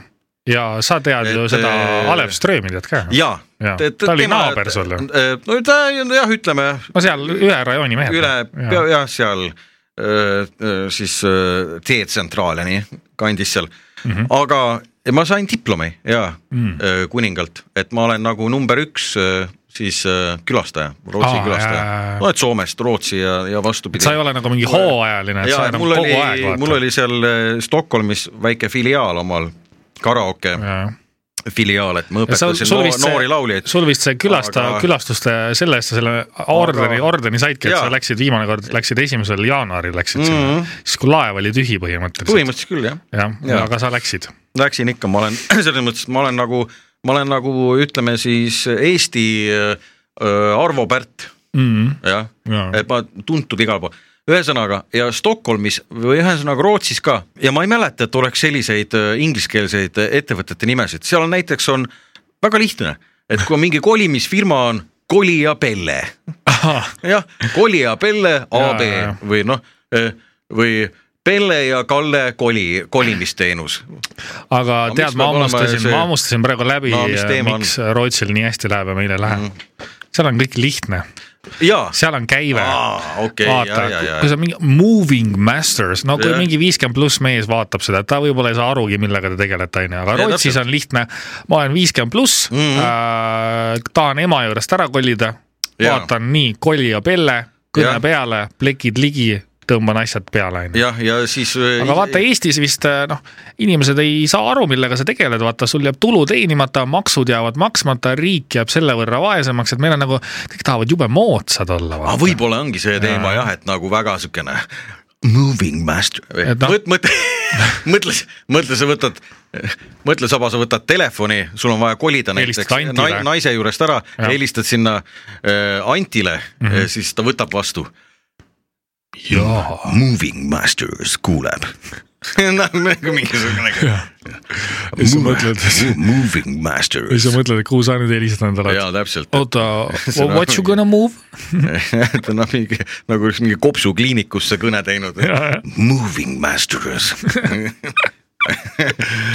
C: ja sa tead ju
B: Et,
C: seda
B: äh,
C: Alev Ströömi tead ka .
B: ja,
C: Jaa. Ta oli naaber sulle.
B: Äh, no ta jah , ütleme
C: no seal ühe rajooni mehed .
B: üle pea , jah , seal öö, öö, siis öö, teetsentraalini kandis seal mm ,
C: Mhm.
B: -hmm. aga ma sain diplomi ja mm. kuningalt , et ma olen nagu number üks öö, siis öö, külastaja , Rootsi
C: Aa,
B: Aa, külastaja
C: jaa, jaa, jaa. ,
B: no et Soomest Rootsi ja , ja vastupidi .
C: sa ei ole nagu mingi hooajaline , et sa
B: ja
C: oled nagu
B: mul
C: kogu
B: oli
C: aeg ,
B: mul
C: vaata .
B: oli seal öö, Stockholmis väike filiaal omal , karaoke ja. filiaal , et ma õpetasin noori, noori lauljaid .
C: sul vist see külasta
B: Aga-
C: aga... , külastuste , selle eest sa selle ordeni aga... , ordeni saidki , et
B: Jaa.
C: sa läksid viimane kord , läksid esimesel jaanuaril läksid mm
B: Mhm.
C: -hmm. sinna , siis kui laev oli tühi põhimõtteliselt .
B: põhimõtteliselt küll jah
C: jah
B: jaa.
C: ja. , aga sa läksid .
B: läksin ikka , ma olen *clears throat* selles mõttes , ma olen nagu , ma olen nagu ütleme siis Eesti äh, Arvo Pärt , jah ,
C: Mm-hmm. Jaa.
B: et ma tuntud igal pool ühesõnaga ja Stockholmis või ühesõnaga Rootsis ka ja ma ei mäleta , et oleks selliseid äh, ingliskeelseid äh, ettevõtete nimesid , seal on näiteks on väga lihtne , et kui on mingi kolimisfirma on Kolija Pelle , jah , Kolija Pelle AB
C: Jaa, jaa.
B: või noh , või Pelle ja Kalle koli , kolimisteenus
C: aga
B: miks
C: tead , ma
B: peab olema
C: hammustasin ,
B: see-
C: ma hammustasin praegu läbi
B: No, mis teema , on? Mhm.
C: miks Rootsil nii hästi läheb ja meil ei lähe mm . -hmm. seal on kõik lihtne ,
B: jaa ,
C: seal on käive .
B: Aa, okei, jaa, jaa, jaa.
C: vaata , kui sa mingi moving masters , no kui
B: Jah.
C: mingi viiskümmend pluss mees vaatab seda , ta võib-olla ei saa arugi , millega te tegelete , onju ,
B: Jaa,
C: aga Rootsis
B: täpselt. Mhm.
C: on lihtne . ma olen viiskümmend pluss , tahan ema juurest ära kolida ,
B: Jaa.
C: vaatan nii , koli ja pelle kõne
B: Jah.
C: peale , plekid ligi , tõmban asjad peale , onju .
B: jah , ja siis . äh,
C: aga vaata , Eestis vist äh, noh , inimesed ei saa aru , millega sa tegeled , vaata , sul jääb tulu teenimata , maksud jäävad maksmata , riik jääb selle võrra vaesemaks , et meil on nagu , kõik tahavad jube moodsad olla
B: aga . Ah, võib-olla ongi see teema jah , et nagu väga siukene moving master või
C: Et
B: no.
C: noh-
B: mõt, , mõtle , *laughs* mõtle , mõtle , sa võtad , mõtle saba , sa võtad telefoni , sul on vaja kolida näiteks
C: Helistad Antile.
B: nai- naise juurest ära ja,
C: Jah.
B: ja helistad sinna äh, Antile mm , -hmm. siis ta võtab vastu .
C: Mhm. jaa .
B: Moving masters kuuleb *laughs* nagu mingisugune .
C: Ja siis sa mõtled-
B: Moving
C: või
B: masters
C: sa . mõtled , et kuhu sa nüüd helistad endale ?
B: jaa , täpselt .
C: oota
B: *laughs* See , on
C: what you gonna
B: *laughs*
C: move ?
B: ta on mingi nagu üks mingi kopsukliinikusse kõne teinud . Moving masters .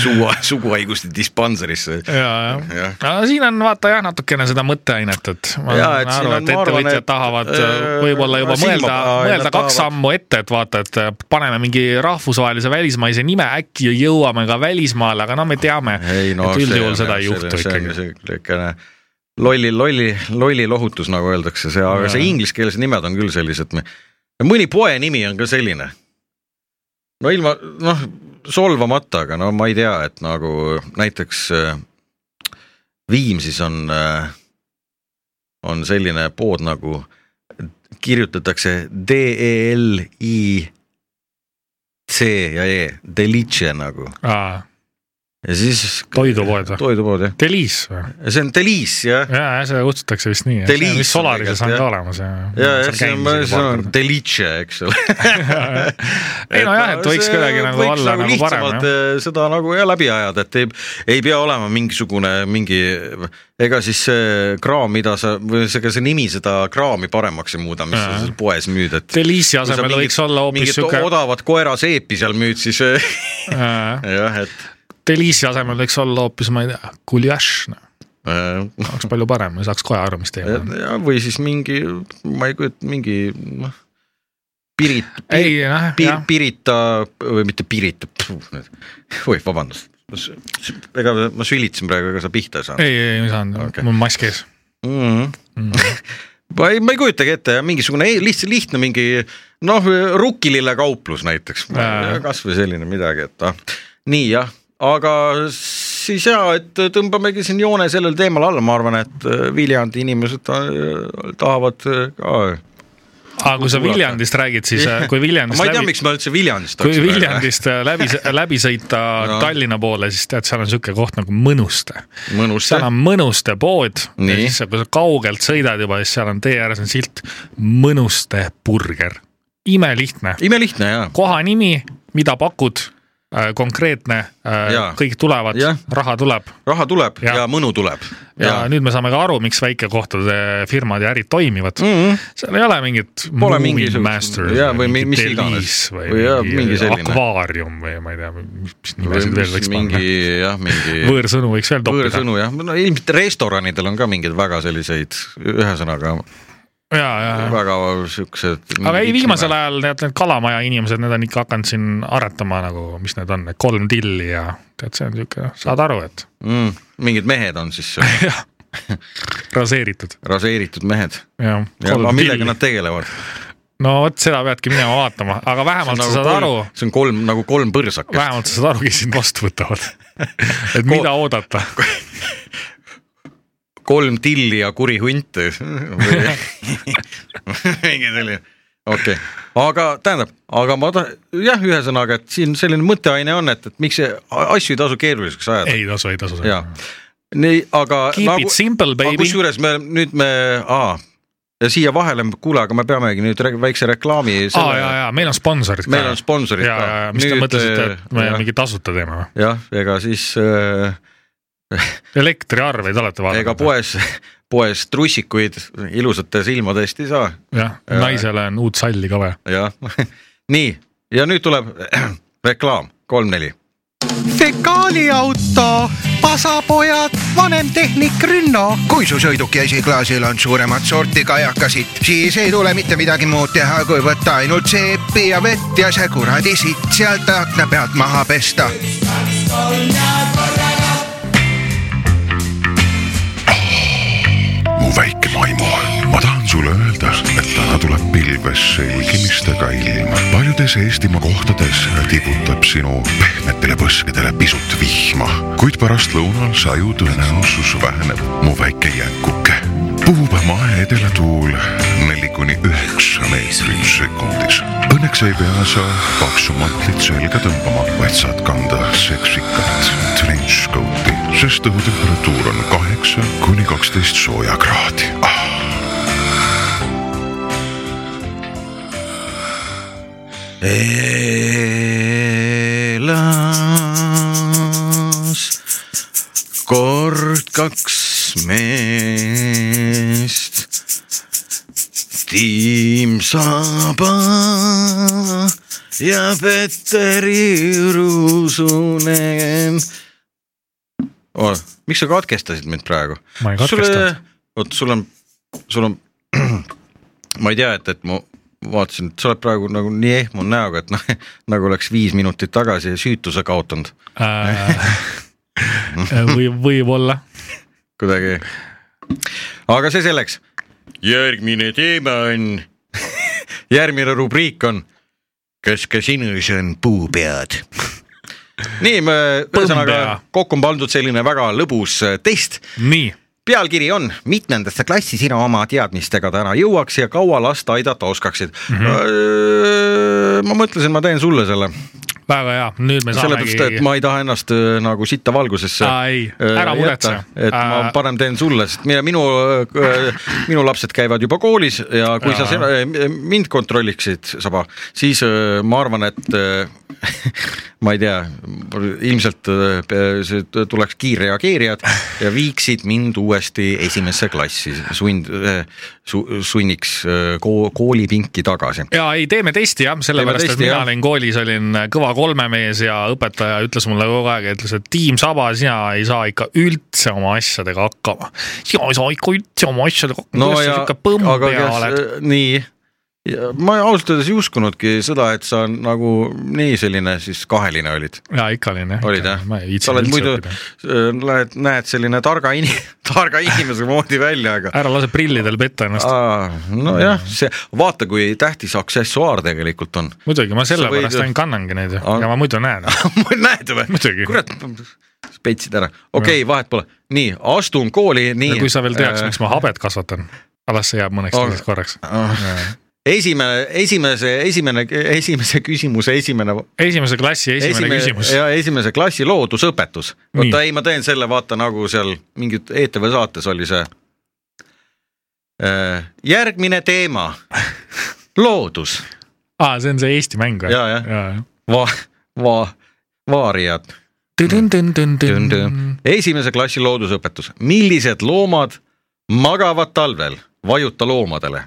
B: suu , suguhaiguste dispanserisse .
C: ja , ja
B: Jah. ,
C: aga siin on vaata jah , natukene seda mõtteainet , et ma
B: Jaa, et
C: saan
B: siin
C: aru ,
B: on,
C: et
B: ma arvan,
C: ettevõtjad
B: et,
C: tahavad
B: äh,
C: võib-olla juba
B: silma
C: mõelda
B: paha ja ,
C: mõelda
B: nad tahavad-
C: kaks sammu ette , et vaata , et äh, paneme mingi rahvusvahelise välismaise nime , äkki jõuame ka välismaale , aga no me teame , et üldjuhul seda ei juhtu ikkagi .
B: niisugune lolli , lolli , lolli lohutus , nagu öeldakse , see , aga
C: Jaa.
B: see ingliskeelsed nimed on küll sellised , mõni poe nimi on ka selline . no ilma , noh , solvamata , aga no ma ei tea , et nagu näiteks äh, Viimsis on , on selline pood nagu kirjutatakse D E L I C ja E , Delice nagu ja siis .
C: Toidupoed või?
B: toidupood jah ,
C: Deliis või ?
B: see on Deliis jah .
C: ja , ja seda kutsutakse vist nii .
B: Deliis
C: mis
B: on
C: Solarises
B: tegelikult,
C: on ka
B: jah.
C: olemas ja .
B: ja , ja see on , see on Delice , eks ole .
C: ei no jah ,
B: *laughs*
C: et võiks kuidagi nagu olla nagu parem jah .
B: jah . seda nagu ja läbi ajada , et ei , ei pea olema mingisugune mingi , ega siis see kraam , mida sa , või see , ega see nimi seda kraami paremaks ei muuda , mis sa
C: Jaa.
B: seal poes müüd , et .
C: Deliisi asemel võiks olla hoopis sihuke
B: siuke . odavat koeraseepi seal müüd , siis äh, *laughs* jah , et
C: Deliisi asemel võiks olla hoopis , ma ei tea , guljaš ,
B: äh,
C: oleks palju parem , saaks kohe aru , mis teema on .
B: ja või siis mingi , ma ei kujuta , mingi noh , Pirit ,
C: ei noh ,
B: Pir-
C: jah ,
B: Pirita või mitte Pirita , oih , vabandust . ega ma sülitsin praegu , ega sa pihta ei saanud
C: ei , ei , ei saanud
B: Okei.
C: okay. , mul on mask ees .
B: mm .
C: Mhm.
B: -hmm. *laughs* ma ei , ma ei kujutagi ette , mingisugune ei- lihtsalt lihtne mingi noh , rukkilille kauplus näiteks
C: Jaa. ,
B: kasvõi selline midagi , et ah. nii jah , aga siis ja , et tõmbamegi siin joone sellel teemal alla , ma arvan , et äh, Viljandi inimesed äh, tahavad äh, ka .
C: aga kui sa
B: Kuulata.
C: Viljandist räägid , siis äh, kui Viljandist
B: ma ei tea ,
C: läbi ,
B: miks ma üldse Viljandist
C: kui . Viljandist äh, läbi , *laughs* läbi sõita
B: No.
C: no. Tallinna poole , siis tead , seal on sihuke koht nagu Mõnuste .
B: mõnus see
C: seal . on Mõnuste pood ja
B: Nii.
C: siis sa- kui sa kaugelt sõidad juba , siis seal on tee ääres on silt Mõnuste burger . imelihtne .
B: imelihtne ja .
C: koha nimi , mida pakud , konkreetne ,
B: Jaa.
C: kõik tulevad
B: Jah. ,
C: raha tuleb
B: raha tuleb ja,
C: Ja.
B: ja mõnu tuleb .
C: ja, ja nüüd me saame ka aru , miks väikekohtade firmad ja ärid toimivad mm .
B: Mhm.
C: -hmm. seal ei ole mingit
B: Pole
C: movie
B: mingisugust-
C: master
B: jaa, või mi- mis
C: Deliis
B: iganes.
C: või,
B: Või jaa,
C: või mingi,
B: mingi
C: mingi
B: selline.
C: akvaarium või ma ei tea , mis, mis nimesid veel võiks mingi...
B: mingi
C: panna .
B: jah ,
C: *laughs*
B: mingi
C: võõrsõnu võiks veel toppida .
B: võõrsõnu jah , no ilmselt restoranidel on ka mingeid väga selliseid , ühesõnaga
C: ja , ja ,
B: väga siuksed .
C: aga ei , viimasel ajal need , need kalamaja inimesed , need on ikka hakanud siin aretama nagu , mis need on , kolm tilli ja tead , see on siuke , saad aru , et
B: mm, . mingid mehed on siis seal,
C: raseeritud .
B: raseeritud mehed .
C: jah ,
B: aga
C: kolm
B: millega
C: tilli .
B: nad tegelevad ?
C: no vot , seda peadki minema vaatama , aga vähemalt sa saad aru
B: see on Nagu kolm nagu kolm põrsakest .
C: vähemalt sa saad aru , kes sind vastu
B: *laughs*
C: võtavad . et mida oodata .
B: kolm tilli ja kuri hunt või mingi selline , okei okay. , aga tähendab , aga ma tahan , jah , ühesõnaga , et siin selline mõtteaine on , et , et miks see a- asju ei tasu keeruliseks ajada
C: ei tasu , ei tasu .
B: ja nii , aga
C: Keep nagu, it simple ,
B: aga
C: baby .
B: kusjuures me nüüd me , aa , siia vahele , kuule , aga me peamegi nüüd reg- väikse reklaami .
C: aa ja , ja meil on sponsorid ka .
B: Meil on sponsorid
C: ja,
B: ka.
C: ja , ja mis te
B: Nüüd, äh,
C: mõtlesite , et me
B: jah.
C: mingi tasuta teeme või ?
B: jah , ega siis äh,
C: elektriarveid olete vaadanud ?
B: ega . poes , poes trussikuid ilusate silmade eest ei saa
C: jah , naisele on uut salli ka
B: *laughs*
C: vaja .
B: jah , nii ja nüüd tuleb *clears throat* reklaam , kolm-neli .
F: fekaaliauto , pasapojad , vanemtehnik Rünno .
G: kui su sõiduki esiklaasil on suuremat sorti kajakasid , siis ei tule mitte midagi muud teha , kui võtta ainult seepi ja vett ja see kuradi sitt sealt akna pealt maha pesta .
D: mu väike maimu on ma tahan sulle öelda , et täna tuleb pilves selgimistega ilm . paljudes Eestimaa kohtades tigutab sinu pehmetele põskedele pisut vihma , kuid pärast lõunal saju tõenäosus väheneb . mu väike jänkuke , puhub mae edelatuul neli kuni üheksa meetrit sekundis . Õnneks ei pea sa paksu mantlit selga tõmbama , vaid saad kanda seksikat trenchcoat'i , sest õhutemperatuur on kaheksa kuni kaksteist sooja kraadi ah. .
B: elas kord kaks meest . Tiim Saba ja Petteri Ruusunen oh, . miks sa katkestasid mind praegu ?
C: Ma ei katkestanud. .
B: oot , sul on , sul on , *clears throat* ma ei tea , et , et ma vaatasin , et sa oled praegu nagu nii ehmunud näoga , et noh , *laughs* nagu oleks viis minutit tagasi süütuse kaotanud
C: Äh, *laughs* või võib-olla ,
B: kuidagi . aga see selleks . järgmine teema on , *laughs* järgmine rubriik on . kas ka sinus on puupead ? *laughs* nii , me ühesõnaga kokku on pandud selline väga lõbus äh, test
C: nii
B: pealkiri on mitmendasse klassi sina oma teadmistega täna jõuaks ja kaua last aidata oskaksid mm . -hmm. ma mõtlesin , ma teen sulle selle ,
C: väga hea , nüüd me
B: sellepärast et
C: saamegi .
B: ma ei taha ennast öö, nagu sitta valgusesse
C: Aa, ei.
B: öö,
C: Ära muretse.
B: jätta, et ma
C: Aa.
B: parem teen sulle , sest mina , minu , minu lapsed käivad juba koolis ja kui ja. sa
C: Jaa.
B: seda- mind kontrolliksid , Saba , siis öö, ma arvan , et öö, *laughs* ma ei tea , ilmselt öö, pe- see t- tuleks kiirreageerijad ja viiksid mind uuesti esimesse klassi , sund , su, sunniks öö, ko- koolipinki tagasi .
C: ja ei , teeme testi jah , sellepärast et
B: testi,
C: mina
B: jah.
C: olin koolis , olin kõva kolmemees ja õpetaja ütles mulle kogu aeg , ütles , et Tiim Saba , sina ei saa ikka üldse oma asjadega hakkama . sina ei saa ikka üldse oma asjadega hakkama no, , kuidas sa sihuke põmm pea oled .
B: äh, nii , ma ausalt öeldes ei uskunudki seda , et sa nagu nii selline siis kaheline olid ,
C: ja ikka olin jah .
B: olid jah
C: ma ei ?
B: sa
C: viitsinud
B: oled
C: üldse
B: muidu äh,
C: õppida .,
B: lähed , näed selline targa in- , *laughs* targa inimese moodi välja , aga
C: ära lase prillidel petta ennast .
B: nojah , see , vaata , kui tähtis aksessuaar tegelikult on . *laughs*
C: muidugi , ma
B: sa võid-
C: sellepärast ainult kannangi neid ju
B: Aa.
C: ja ma muidu näen .
B: näed või
C: Muidugi. ?
B: kurat , petsid ära , okei okay, , vahet pole , nii astun kooli , nii . äh,
C: kui sa veel teaks , miks ma habet kasvatan , las see jääb mõneks
B: Aga-
C: teiseks korraks .
B: esimene , esimese , esimene , esimese küsimuse esimene
C: esimese klassi esimene küsimus .
B: ja esimese klassi loodusõpetus .
C: Nii.
B: oota ei , ma teen selle , vaata nagu seal mingi ETV saates oli see . järgmine
C: *laughs*
B: teema , loodus ,
C: aa , see on see Eesti mäng või ?
B: Jaa, jah. va- , va- , vaariad .
C: jah .
B: esimese klassi loodusõpetus , millised loomad magavad talvel , vajuta loomadele .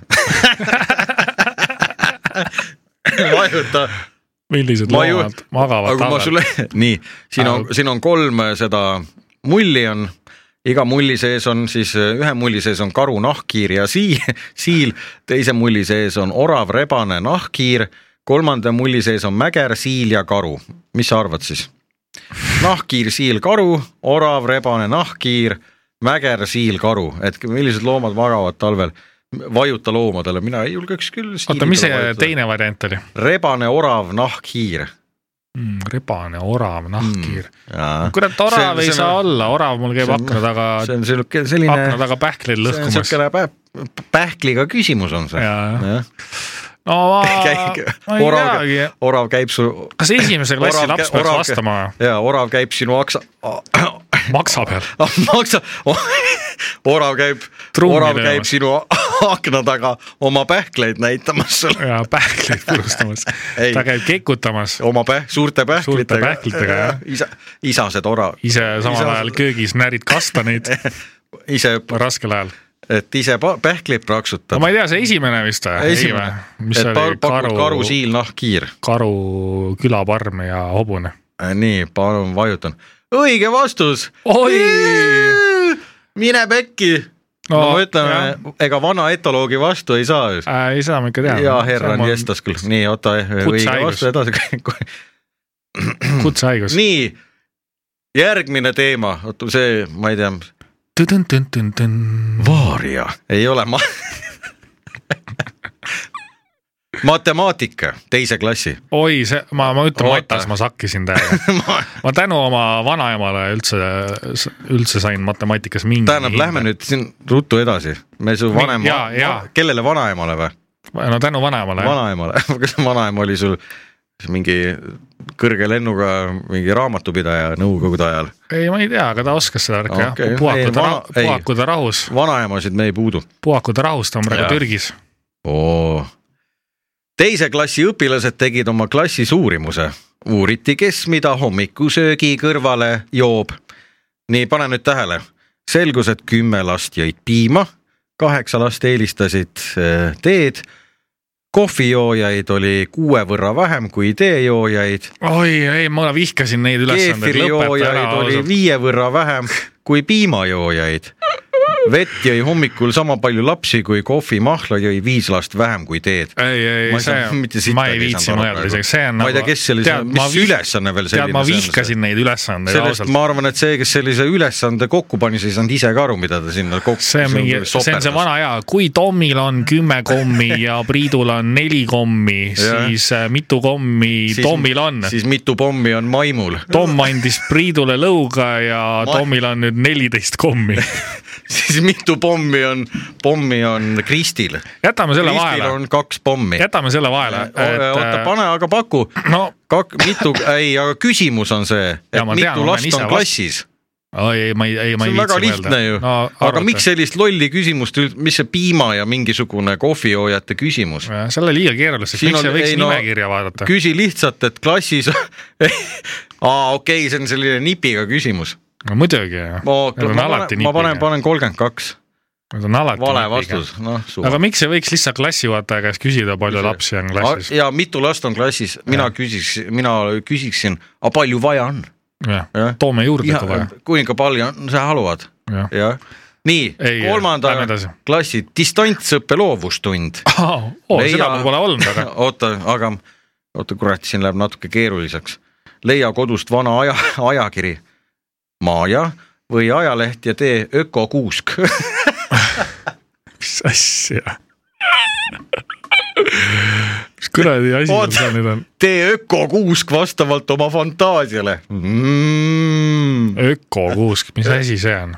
B: vajuta
C: millised
B: Ma ju-
C: loomad magavad
B: aga kui ma
C: talvel
B: sulle , *laughs* nii , siin
C: Ah,
B: on , siin on kolm äh, seda mulli on , iga mulli sees on siis , ühe mulli sees on karu , nahkhiir ja sii- , *laughs* siil , teise mulli sees on orav , rebane , nahkhiir , kolmanda mulli sees on mäger , siil ja karu . mis sa arvad siis ? nahkhiir , siil , karu , orav , rebane , nahkhiir , mäger , siil , karu , et millised loomad magavad talvel ? vajuta loomadele , mina ei julgeks küll .
C: oota , mis see ? teine variant oli
B: rebane , orav , nahkhiir .
C: mm, ? rebane , orav , nahkhiir mm. . kurat ,
B: See-
C: orav see,
B: see-
C: ei see, saa olla , orav mul käib
B: see-
C: akna taga ,
B: see on sihuke
C: akna
B: selline ,
C: taga pähkleid
B: see on
C: lõhkumas .
B: siukene pä- pähkliga küsimus on see .
C: Jaa, no ma ,
B: *laughs*
C: ma ei
B: orav
C: teagi ,,
B: orav käib su
C: kas esimese klassi
B: Orav-
C: laps peaks
B: orav-
C: vastama
B: ja orav käib sinu aksa , *coughs*
C: maksa peal ?
B: maksa , *coughs* orav käib ,
C: Trummi
B: orav käib
C: löömas.
B: sinu *coughs* akna taga oma pähkleid näitamas sulle ,
C: ja
B: *laughs*
C: pähkleid purustamas
B: Ei. .
C: ta käib kekutamas ,
B: oma päh- , suurte pähklitega .
C: pähklitega, jah.
B: isa , isased orav ,
C: ise samal
B: Isa-
C: ajal köögis närid
B: *laughs*
C: kastaneid
B: ise ,
C: raskel ajal .
B: et ise pa- pähkleid praksutab
C: no . ma ei tea , see esimene vist või ?
B: esimene ,
C: mis
B: et
C: oli
B: par- pakud
C: karu
B: karu , siil , nahkhiir
C: karu , külaparm ja hobune .
B: Äh, nii , palun vajutan . õige vastus .
C: Oi!
B: mine pekki no, .
C: No,
B: no ütleme , ega vana etoloogi vastu ei saa ju .
C: äh, . ei , seda ma ikka tean .
B: ja herra on jestas küll , nii oota , õige
C: Kutsehaigus.
B: vastu edasi . *laughs*
C: kutsehaigus .
B: nii , järgmine teema , oota see , ma ei tea ,
C: nii .
B: vaaria ei ole ma , *laughs* matemaatika teise klassi . *laughs*
C: oi , see , ma , ma ütlen ,
B: Oota.
C: Matas , ma sakkisin täiega . ma tänu oma vanaemale üldse , üldse sain matemaatikas mingi .
B: tähendab , lähme . nüüd siin ruttu edasi , me su vanema
C: jaa, jaa. ,
B: kellele vanaemale või ?
C: no tänu vanaemale Vana... .
B: vanaemale , *laughs* kas vanaema oli sul mingi kõrge lennuga mingi raamatupidaja nõukogude ajal ?
C: ei , ma ei tea , aga ta oskas seda värki okay.
B: Okei.
C: jah . puhakuda
B: Ei, vana- , ei.
C: puhakuda rahus ,
B: vanaemasid me ei puudu
C: puhakuda rahus , ta on praegu
B: Jaa.
C: Türgis .
B: oo . teise klassi õpilased tegid oma klassi suurimuse . uuriti , kes mida hommikusöögi kõrvale joob . nii , pane nüüd tähele . selgus , et kümme last jõid piima , kaheksa last eelistasid eh, teed , kohvijoojaid oli kuue võrra vähem kui teejoojaid ,
C: oi , ei , ma vihkasin neid ülesandeid .
B: keefirijoojaid oli viie võrra vähem kui piimajoojaid . vett jõi hommikul sama palju lapsi kui kohvimahla jõi viis last vähem kui teed .
C: ei , ei ,
B: Ma ei saa mitte
C: see ,
B: sittagi
C: ma ei
B: ei
C: viitsi
B: saanud aru praegu.
C: mõelda isegi , see on nagu-
B: Ma ei tea, kes sellise-
C: tead, ma
B: mis
C: vih-
B: ülesanne veel
C: tead, ma
B: selline see on,
C: vihkasin neid ülesandeid
B: sellest
C: ausalt .
B: ma arvan , et see , kes sellise ülesande kokku pani , siis ei saanud ise ka aru , mida ta sinna kokku .
C: see on mingi , see on see vana hea , kui Tomil on kümme kommi ja Priidul on neli kommi ,
B: *laughs* Jah.
C: siis äh, mitu kommi siis, Tomil on ?
B: siis mitu pommi on maimul , *laughs*
C: Tom andis Priidule lõuga ja
B: Ma-
C: Tomil on nüüd neliteist
B: *laughs*
C: kommi .
B: siis mitu pommi on , pommi on Kristil .
C: jätame selle
B: Kristil
C: vahele ,
B: on kaks pommi .
C: jätame selle vahele ,
B: oota ,
C: et
B: pane aga paku
C: äh, no
B: kak- , mitu , ei , aga küsimus on see , et
C: Jaa, ma
B: mitu
C: tean, ma olen
B: last
C: ise
B: on
C: vast-
B: klassis .
C: oi, ei , ma ei , ei , ma
B: see
C: ei
B: on väga
C: viitsi
B: lihtne ju
C: no,
B: no, ., aga miks ? sellist lolli küsimust üld- , mis see piima ja mingisugune kohvijoojate küsimus ?
C: selle liiga keeruliseks ,
B: Siin
C: miks
B: on-
C: ei võiks
B: ei, no-
C: nimekirja vaadata ?
B: küsi lihtsalt , et klassis , *laughs* aa okei , see on selline nipiga küsimus .
C: no muidugi ,
B: ma
C: need on alati
B: panen , ma panen ,
C: nipiga ,
B: panen kolmkümmend kaks ,
C: need on alati
B: vale
C: nipiga.
B: vastus , noh suva
C: aga . miks ei võiks lihtsalt klassijuhataja käest küsida , palju lapsi on klassis ?
B: ja mitu last on klassis , mina küsiks , mina küsiksin , aga palju vaja on ? jah.
C: toome juurde ka vaja .
B: kui ikka palju on , sa haluad ?
C: jah .
B: jah , nii
C: Ei, ,
B: kolmanda
C: lähme edasi.
B: klassi distantsõppe loovustund .
C: oo , seda mul pole olnud , aga
B: *laughs* oota , aga oota , kurat , siin läheb natuke keeruliseks . leia kodust vana aja , ajakiri , Maaja või ajaleht ja tee ökokuusk . *laughs*
C: mis asja ? mis kuradi asi
B: Oot.
C: seal nüüd on ?
B: tee ökokuusk vastavalt oma fantaasiale mm. .
C: ökokuusk , mis asi see on ?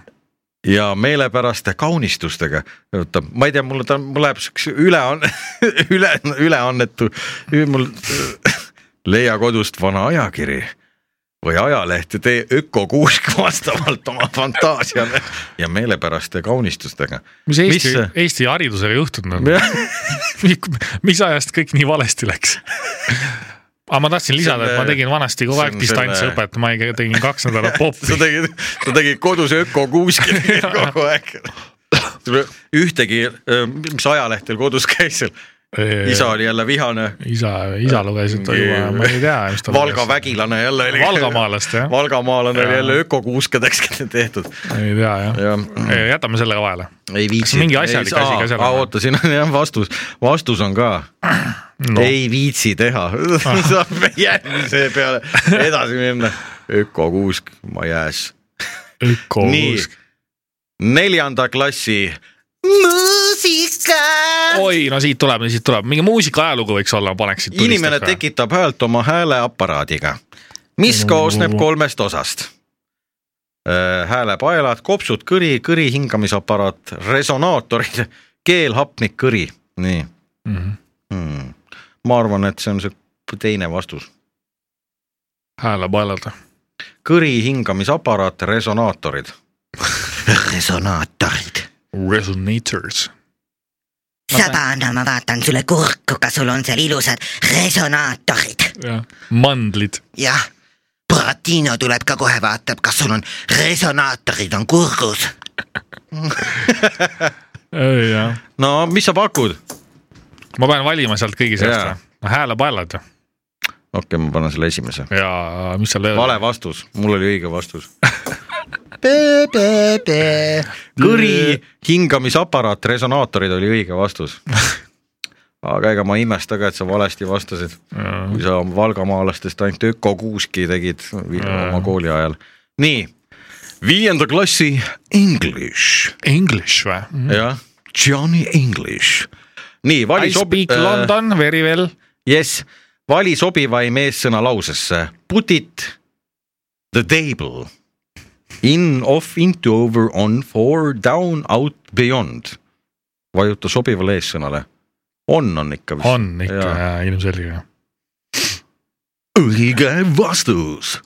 B: ja meelepäraste kaunistustega . oota , ma ei tea , mulle ta , mul läheb siukse üle , *laughs* üle , üleannetu , mul leia kodust vana ajakiri või ajaleht ja tee ökokuusk *laughs* vastavalt oma fantaasiale ja meelepäraste kaunistustega .
C: mis Eesti
B: see? ,
C: Eesti haridusega juhtunud on ? *laughs* mis ajast kõik nii valesti läks ? aga ma tahtsin lisada , et ma tegin vanasti kogu
B: see
C: aeg
B: on
C: distantsõpet , ma ei- tegin kaks
B: *laughs*
C: nädalat
B: *laughs* sa
C: popi .
B: tegid , sa tegid kodus ökokuuski tegid *laughs* kogu aeg . ühtegi , mis ajalehtel kodus käis seal , isa oli jälle vihane ,
C: isa , isa luges , et oi jumal , ma ei tea , mis ta
B: Äh, Valga . vägilane jälle oli .
C: valgamaalaste jah ,
B: valgamaalane oli
C: Jaa.
B: jälle *laughs* ökokuuskedeks tehtud
C: ei tea jah
B: ja
C: Ei, jätame selle ka vahele .
B: ei
C: Kas
B: viitsi .
C: mingi asjalik asi ka seal on?
B: on ? oota , siin on jah vastus , vastus on ka no.
C: No.
B: ei viitsi teha , *laughs* saab järgmise peale edasi minna . ökokuusk , ma jääs . nii
C: ökokuusk .,
B: neljanda klassi
C: oi , no siit tuleb , siit tuleb , mingi muusika ajalugu võiks olla , paneks siit .
B: inimene . tekitab häält oma hääleaparaadiga , mis koosneb kolmest osast . häälepaelad , kopsud , kõri , kõri hingamisaparaat , resonaatorid , keel , hapnik , kõri , nii hmm. . ma arvan , et see on see teine vastus ,
C: häälepaelad .
B: kõri hingamisaparaat , resonaatorid . resonaatorid .
C: Resonators .
I: sõbranna , ma vaatan sulle kurku , kas sul on seal ilusad resonaatorid ?
C: mandlid .
I: jah , Buratino tuleb ka kohe , vaatab , kas sul on resonaatorid on kurgus .
C: jah .
B: no mis sa pakud ?
C: ma pean valima sealt kõigi seast
B: Jaa.
C: või ? häälepaelad
B: okei okay, , ma panen selle esimese .
C: ja mis seal
B: vale vastus , mul oli õige vastus . kõri hingamisaparaat , resonaatorid oli õige vastus . aga ega ma ei imesta ka , et sa valesti vastasid , kui sa valgamaalastest ainult ökokuuski tegid vi- oma kooli ajal . nii , viienda klassi English , Mhm.
C: English või ?
B: jah , Johnny English nii , äh,
C: I
B: vali sobi-
C: speak . London very well .
B: jess , vali sobivaim eessõna lausesse . Put it the table in , off , into , over , on , for , down , out , beyond . vajuta sobivale eessõnale . on on ikka vist .
C: on ikka ja. ilmselge .
B: õige vastus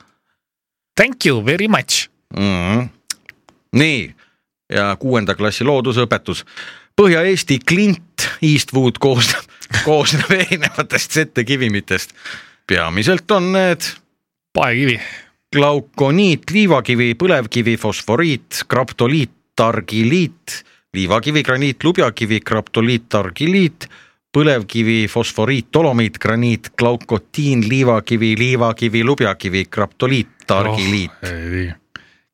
C: Thank you very much .
B: mm . -hmm. nii ja kuuenda klassi loodusõpetus . Põhja-Eesti klint Eastwood koosneb , *laughs* koosneb erinevatest settekivimitest . peamiselt on need
C: paekivi ,
B: glaukoniit , liivakivi , põlevkivi , fosforiit , kraptoliit , targiliit , liivakivi , graniit , lubjakivi , kraptoliit , targiliit , põlevkivi , fosforiit , dolomiit , graniit , glaukotiin , liivakivi , liivakivi , lubjakivi , kraptoliit , targiliit oh. .
C: kivi ,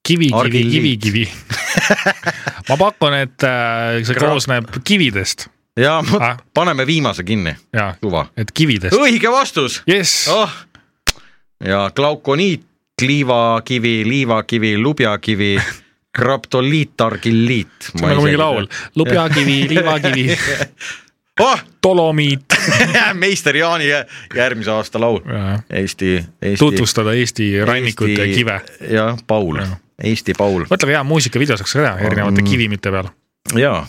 C: kivi ,
B: Argiliit.
C: kivi , kivi .
B: *laughs*
C: ma pakun , et äh, see
B: Gra-
C: koosneb kividest
B: ja ma-
C: Ah.
B: paneme viimase kinni ,
C: ja ,
B: suva .
C: et kividest .
B: õige vastus
C: jess oh. ,
B: oh. . ja glaukoniit , liivakivi , liivakivi , lubjakivi , kraptoliitargilliit .
C: see on nagu mingi laul .
B: *laughs*
C: lubjakivi , liivakivi ,
B: oh! . *laughs*
C: dolomiit .
B: meister Jaani jä- järgmise aasta laul . Eesti , Eesti .
C: tutvustada Eesti rannikut ja kive .
B: jah , Paul
C: Jah. ,
B: Eesti Paul
C: mõtle , hea muusikavideo saaks ka teha erinevate
B: Mm.
C: kivimite peal .
B: ja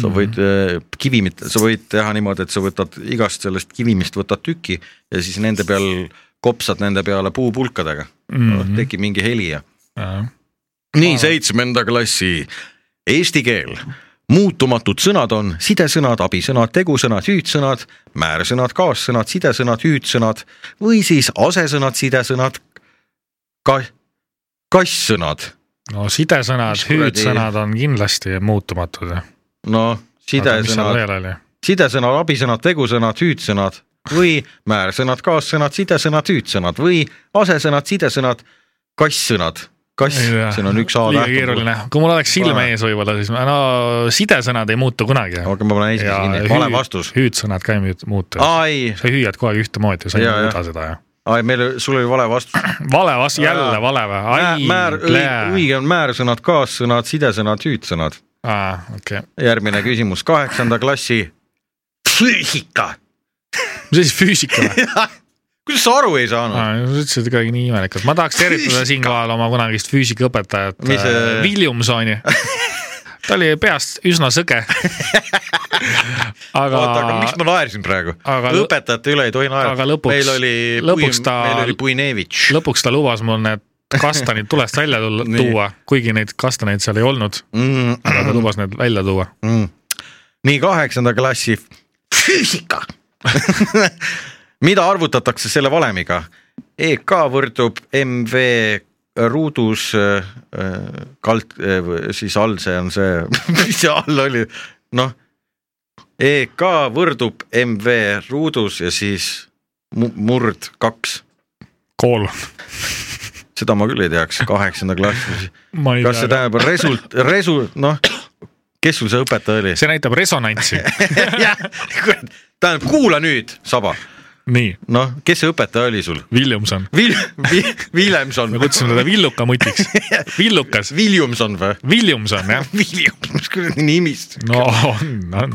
B: sa
C: Mhm.
B: võid äh, kivimit , sa võid teha niimoodi , et sa võtad igast sellest kivimist võtad tüki ja siis nende peal kopsad nende peale puupulkadega mm
C: Mhm.
B: -hmm. , tekib mingi heli ja . nii seitsmenda klassi eesti keel . muutumatud sõnad on sidesõnad , abisõnad , tegusõnad , hüüdsõnad , määrsõnad , kaassõnad , sidesõnad , hüüdsõnad või siis asesõnad , sidesõnad , ka- , kass-sõnad
C: no sidesõnad
B: Mis , kuradi-
C: hüüdsõnad on kindlasti muutumatud .
B: noh , sidesõnad . sidesõnad , abisõnad , tegusõnad , hüüdsõnad või määrsõnad , kaassõnad , sidesõnad , hüüdsõnad või asesõnad , sidesõnad , kass-sõnad . kass , siin on üks A
C: liiga
B: täht .
C: keeruline , kui mul oleks silme
B: Pane.
C: ees võib-olla , siis ma- no sidesõnad ei muutu kunagi .
B: aga ma panen esimese kinni , vale vastus .
C: hüüdsõnad ka ei müü- muutu .
B: aa ei ,
C: sa hüüad kogu aeg ühtemoodi , sa ei
B: Jaa, jaa.
C: muuda seda ju .
B: aa ei , meil , sul oli vale vastus .
C: vale vastus , jälle
B: Jaa.
C: vale või ? ai ,
B: määr , õige on määrsõnad , kaassõnad , sidesõnad , hüüdsõnad .
C: aa , okei .
B: järgmine küsimus , kaheksanda klassi füüsika .
C: mis asi , füüsika
B: *laughs*
C: või ?
B: kuidas sa aru ei saanud ?
C: aa , sa ütlesid ikkagi nii imelikult , ma tahaks tervitada siinkohal oma kunagist füüsikaõpetajat
B: Mis,
C: äh,
B: äh, *laughs*
C: Williamsoni . ta oli peast üsna sõge . aga
B: oota , aga miks ma naersin praegu ?
C: Aga lõ-
B: õpetajate üle ei tohi
C: aga
B: naerda .
C: lõpuks-
B: meil oli ,
C: lõpuks ta-
B: meil oli Puinevitš .
C: lõpuks ta lubas mul need kastanid tulest välja tulla,
B: Nii.
C: tuua , kuigi neid kastaneid seal ei olnud ,
B: mm, .
C: aga ta lubas need välja tuua .
B: Mm. nii kaheksanda klassi füüsika . *laughs* mida arvutatakse selle valemiga ? EK võrdub MV ruudus äh, äh, kald- äh, , siis all see on see , *laughs* mis see all oli , noh . EK võrdub MV ruudus ja siis mu- murd kaks ,
C: kool ,
B: seda ma küll ei teaks , kaheksanda klassi .
C: ma ei
B: kas see
C: tea .
B: tähendab result , resu- , noh , kes sul see õpetaja oli ?
C: *laughs* see näitab resonantsi .
B: *laughs* jah , tähendab , kuula nüüd , Saba ,
C: nii ,
B: noh , kes see õpetaja oli sul ?
C: Williamson ,
B: Vil- , Vil- , Williamson
C: me , kutsusime teda Villuka mutiks . Villukas ,
B: Williamson või ?
C: Williamson jah .
B: Williams , mis kuradi nimist ?
C: no on , on ,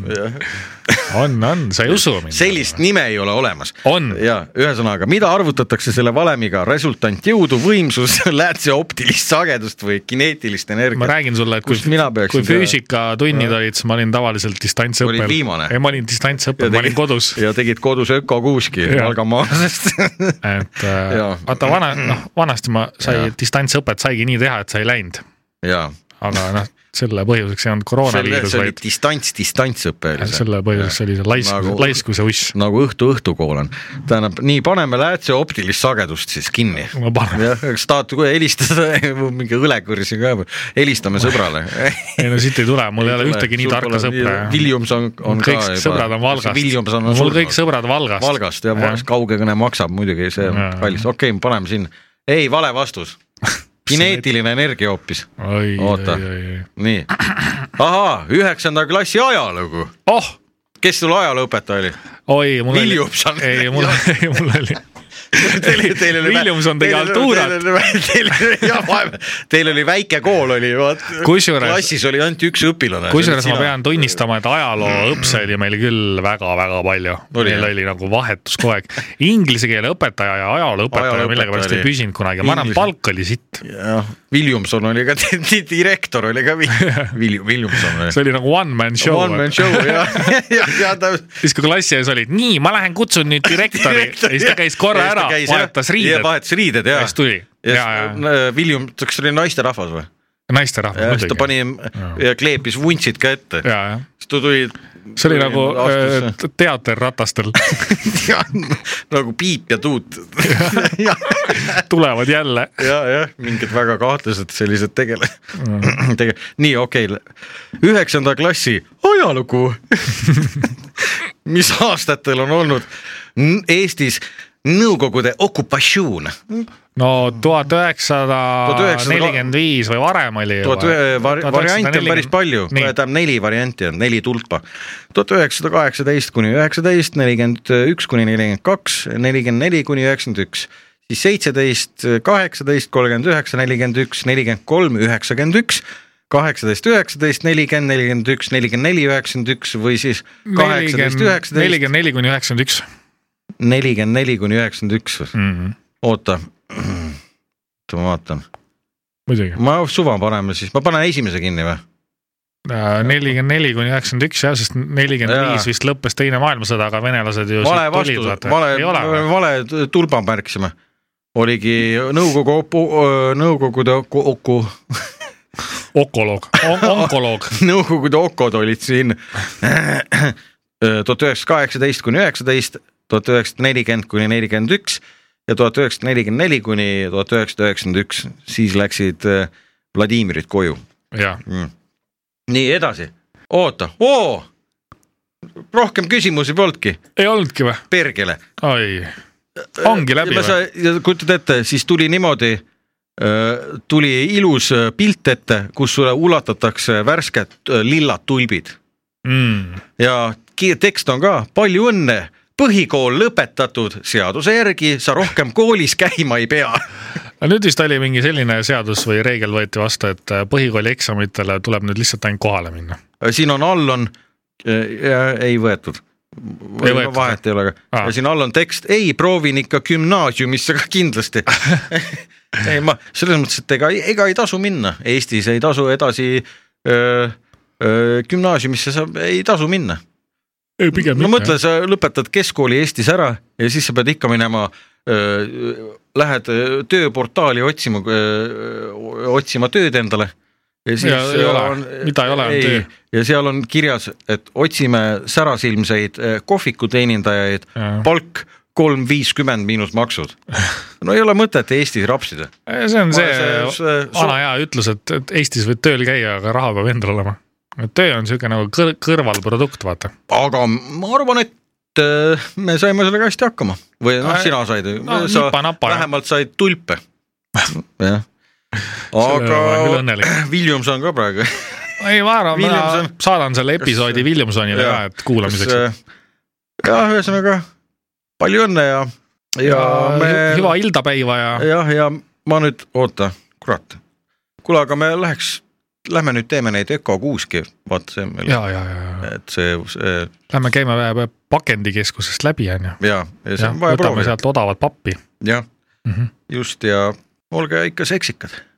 C: on , on , sa ei usu mind .
B: sellist nime ei ole olemas .
C: on ,
B: ja ühesõnaga , mida arvutatakse selle valemiga , resultant jõudu , võimsus , *laughs* läätseoptilist sagedust või kineetilist
C: ma
B: energiat ?
C: räägin sulle , et kui
B: Kus , mina peaksin
C: kui füüsikatunnid olid , siis ma olin tavaliselt distantsõppel .
B: Olid viimane.
C: ei , ma olin distantsõppel , ma olin kodus ,
B: ja tegid kodus ökokuuski
C: Jaa.
B: Valgamaalasest . *laughs*
C: et äh,
B: Jaa.
C: vaata vana , noh , vanasti ma sai
B: Jaa. ,
C: distantsõpet saigi nii teha , et sa ei läinud ,
B: jaa ,
C: aga noh , selle põhjuseks ei olnud
B: see
C: koroonaviirus ,
B: oli
C: vaid
B: distants , distantsõpe oli see
C: selle põhjuseks oli see laiskus
B: Nagu- ,
C: laiskuse uss .
B: nagu õhtu õhtukool on , tähendab nii , paneme läätse optilist sagedust siis kinni .
C: ma panen ,
B: jah , eks tahate kohe helistada , *laughs* mingi õlekõrsi ka , helistame sõbrale .
C: *laughs* ei no siit ei tule , mul ei ole ühtegi nii tarka sõpra .
B: Williams on , on
C: kõik
B: ka
C: sõbrad on Valgast ,
B: Williams on
C: mul kõik
B: surnud .
C: sõbrad Valgast .
B: Valgast jah , kauge kõne maksab muidugi , see on
C: Jaa.
B: kallis , okei okay, , paneme siin , ei , vale
C: *laughs*
B: vastus . kineetiline energia hoopis ,
C: oi ,
B: Oota.
C: oi , oi , oi ,
B: nii . ahaa , üheksanda klassi ajalugu ,
C: oh ,
B: kes sul ajalooõpetaja oli ?
C: oi , mul
B: *laughs*
C: oli
B: Williamson. ,
C: ei , mul , mul oli ,
B: Teil, *laughs* teil oli
C: Williams on tegi
B: teil oli-
C: altuurat.
B: teil oli- *laughs* Teil, oli- jah, vahe- teil oli väike kool oli , vaat
C: Kusjuures-
B: klassis oli ainult üks õpilane .
C: kusjuures ma pean . tunnistama , et ajalooõpse oli meil küll väga-väga palju .
B: Oli,
C: meil
B: jah?
C: oli nagu vahetus kogu aeg . Inglise keele õpetaja ja ajalooõpetaja
B: Ajalooõpetaja
C: millegipärast ei
B: oli-
C: püsinud kunagi , ma arvan ,
B: Inglise-
C: palk oli sitt .
B: jah , Williamson oli ka , direktor oli ka
C: *laughs*
B: William , Williamson oli .
C: see oli nagu one man show .
B: One man show
C: *laughs*
B: jah , *laughs* ja , ja ta
C: siis kui klassi ees olid , nii , ma lähen kutsun
B: *laughs*
C: nüüd direktori ja siis ta käis korra ära , vahetas riided ,
B: vahetas riided ja .
C: Ja siis tuli. Ja, ja.
B: William , kas see oli naisterahvas või ?
C: naisterahvas
B: ja siis ta
C: muidugi .
B: pani ja kleepis vuntsid ka ette .
C: ja , jah ,
B: siis ta tuli .
C: see oli nagu
B: *laughs*
C: äh, t- teater ratastel ,
B: nagu piip ja tuut .
C: *laughs* tulevad jälle .
B: *laughs* ja , jah , mingid väga kahtlased sellised tegele- , *clears throat* tege- , nii okei okay. , üheksanda klassi ajalugu . *laughs* mis aastatel on olnud n- Eestis Nõukogude okupatsioon ,
C: no tuhat üheksasada
B: 1900
C: nelikümmend viis või varem oli
B: tuhat ühe variante on päris palju , tähendab neli varianti on , neli tulpa . tuhat üheksasada kaheksateist kuni üheksateist , nelikümmend üks kuni nelikümmend kaks , nelikümmend neli kuni üheksakümmend üks , siis seitseteist , kaheksateist , kolmkümmend üheksa , nelikümmend üks , nelikümmend kolm , üheksakümmend üks , kaheksateist , üheksateist , nelikümmend , nelikümmend üks , nelikümmend neli , üheksakümmend üks või siis kaheksateist , üheksateist ,
C: nelikümmend neli kuni üheksakümmend üks . Mhm,
B: nelikümmend neli kuni üheksakümmend üks , oota , *clears throat* oota ma vaatan ,
C: muidugi ,
B: ma suva paneme siis , ma panen esimese kinni või ?
C: Äh, nelikümmend neli kuni üheksakümmend üks jah , sest nelikümmend
B: Jaa.
C: viis vist lõppes teine maailmasõda , aga venelased ju
B: vale
C: sealt tulid,
B: vastus ,
C: vaata.
B: vale
C: ei ole , või?
B: vale t- tulba märkisime . oligi Nõukogu opu- , Nõukogude oku, oku , *laughs*
C: okoloog , onkoloog
B: Nõukogude okod olid siin *clears throat* tuhat üheksasada kaheksateist kuni üheksateist , tuhat üheksasada nelikümmend kuni nelikümmend üks ja tuhat üheksasada nelikümmend neli kuni tuhat üheksasada üheksakümmend üks , siis läksid äh, Vladimirid koju
C: jah ,
B: mm. . nii edasi , oota , oo , rohkem küsimusi polnudki ,
C: ei olnudki või ?
B: pergele
C: oi , ongi läbi või ?
B: või ? kujutad ette , siis tuli niimoodi , tuli ilus öö, pilt ette , kus sulle ulatatakse värsked öö, lillad tulbid
C: Mm.
B: ja ki- tekst on ka palju õnne , põhikool lõpetatud , seaduse järgi sa rohkem koolis käima ei pea . *laughs*
C: aga nüüd vist oli mingi selline seadus või reegel võeti vastu , et äh, põhikooli eksamitele tuleb nüüd lihtsalt ainult kohale minna .
B: siin on all on , ei võetud .
C: Ei võetud,
B: vahet ei ole ka
C: Aa.
B: ja siin all on tekst , ei proovin ikka gümnaasiumisse ka
C: *laughs*
B: kindlasti . ei ma selles mõttes , et ega , ega ei tasu minna , Eestis ei tasu edasi öö, öö, gümnaasiumisse sa ei tasu minna .
C: ei , pigem
B: no mõtle , sa lõpetad keskkooli Eestis ära ja siis sa pead ikka minema , lähed öö, tööportaali otsima , otsima tööd endale . ja siis
C: Ja ei
B: öö,
C: ole. Mida ei ole, on töö.
B: ja seal on kirjas , et otsime särasilmseid öö, kohvikuteenindajaid ,
C: Jaa.
B: palk kolm viiskümmend miinus maksud .
C: *laughs*
B: no ei ole mõtet Eestis rapsida .
C: Äh, see on
B: Ma-
C: see,
B: see-
C: see
B: see-
C: vana hea ütlus , et , et Eestis võid tööl käia , aga raha peab endal olema . et töö on siuke nagu kõr- , kõrvalprodukt , vaata .
B: aga ma arvan , et öö, me saime sellega hästi hakkama või noh
C: Äh, ,
B: sina said
C: no
B: sa
C: nipa-napa, jah.
B: vähemalt said tulpe . *laughs* jah ,
C: Selle üle ma olen küll
B: aga
C: õnnelik.
B: Williams on ka praegu .
C: ei , ma arvan , ma
B: Williamson-
C: saadan selle episoodi Williamsonile ka
B: Jaa. ,
C: et kuulamiseks .
B: äh, jah , ühesõnaga palju õnne ja , ja äh, me ,
C: hüva ildapäiva ja
B: jah , ja ma nüüd , oota , kurat . kuule , aga me läheks , lähme nüüd teeme neid ökokuuski , vaata see on meil ,
C: ja , ja , ja ,
B: et see, see
C: lähme käime vähe pakendikeskusest läbi , onju .
B: ja , ja see
C: jah
B: on , vaja
C: võtame
B: proovida ,
C: sealt odavat pappi .
B: jah
C: Mhm.
B: just ja olge ikka seksikad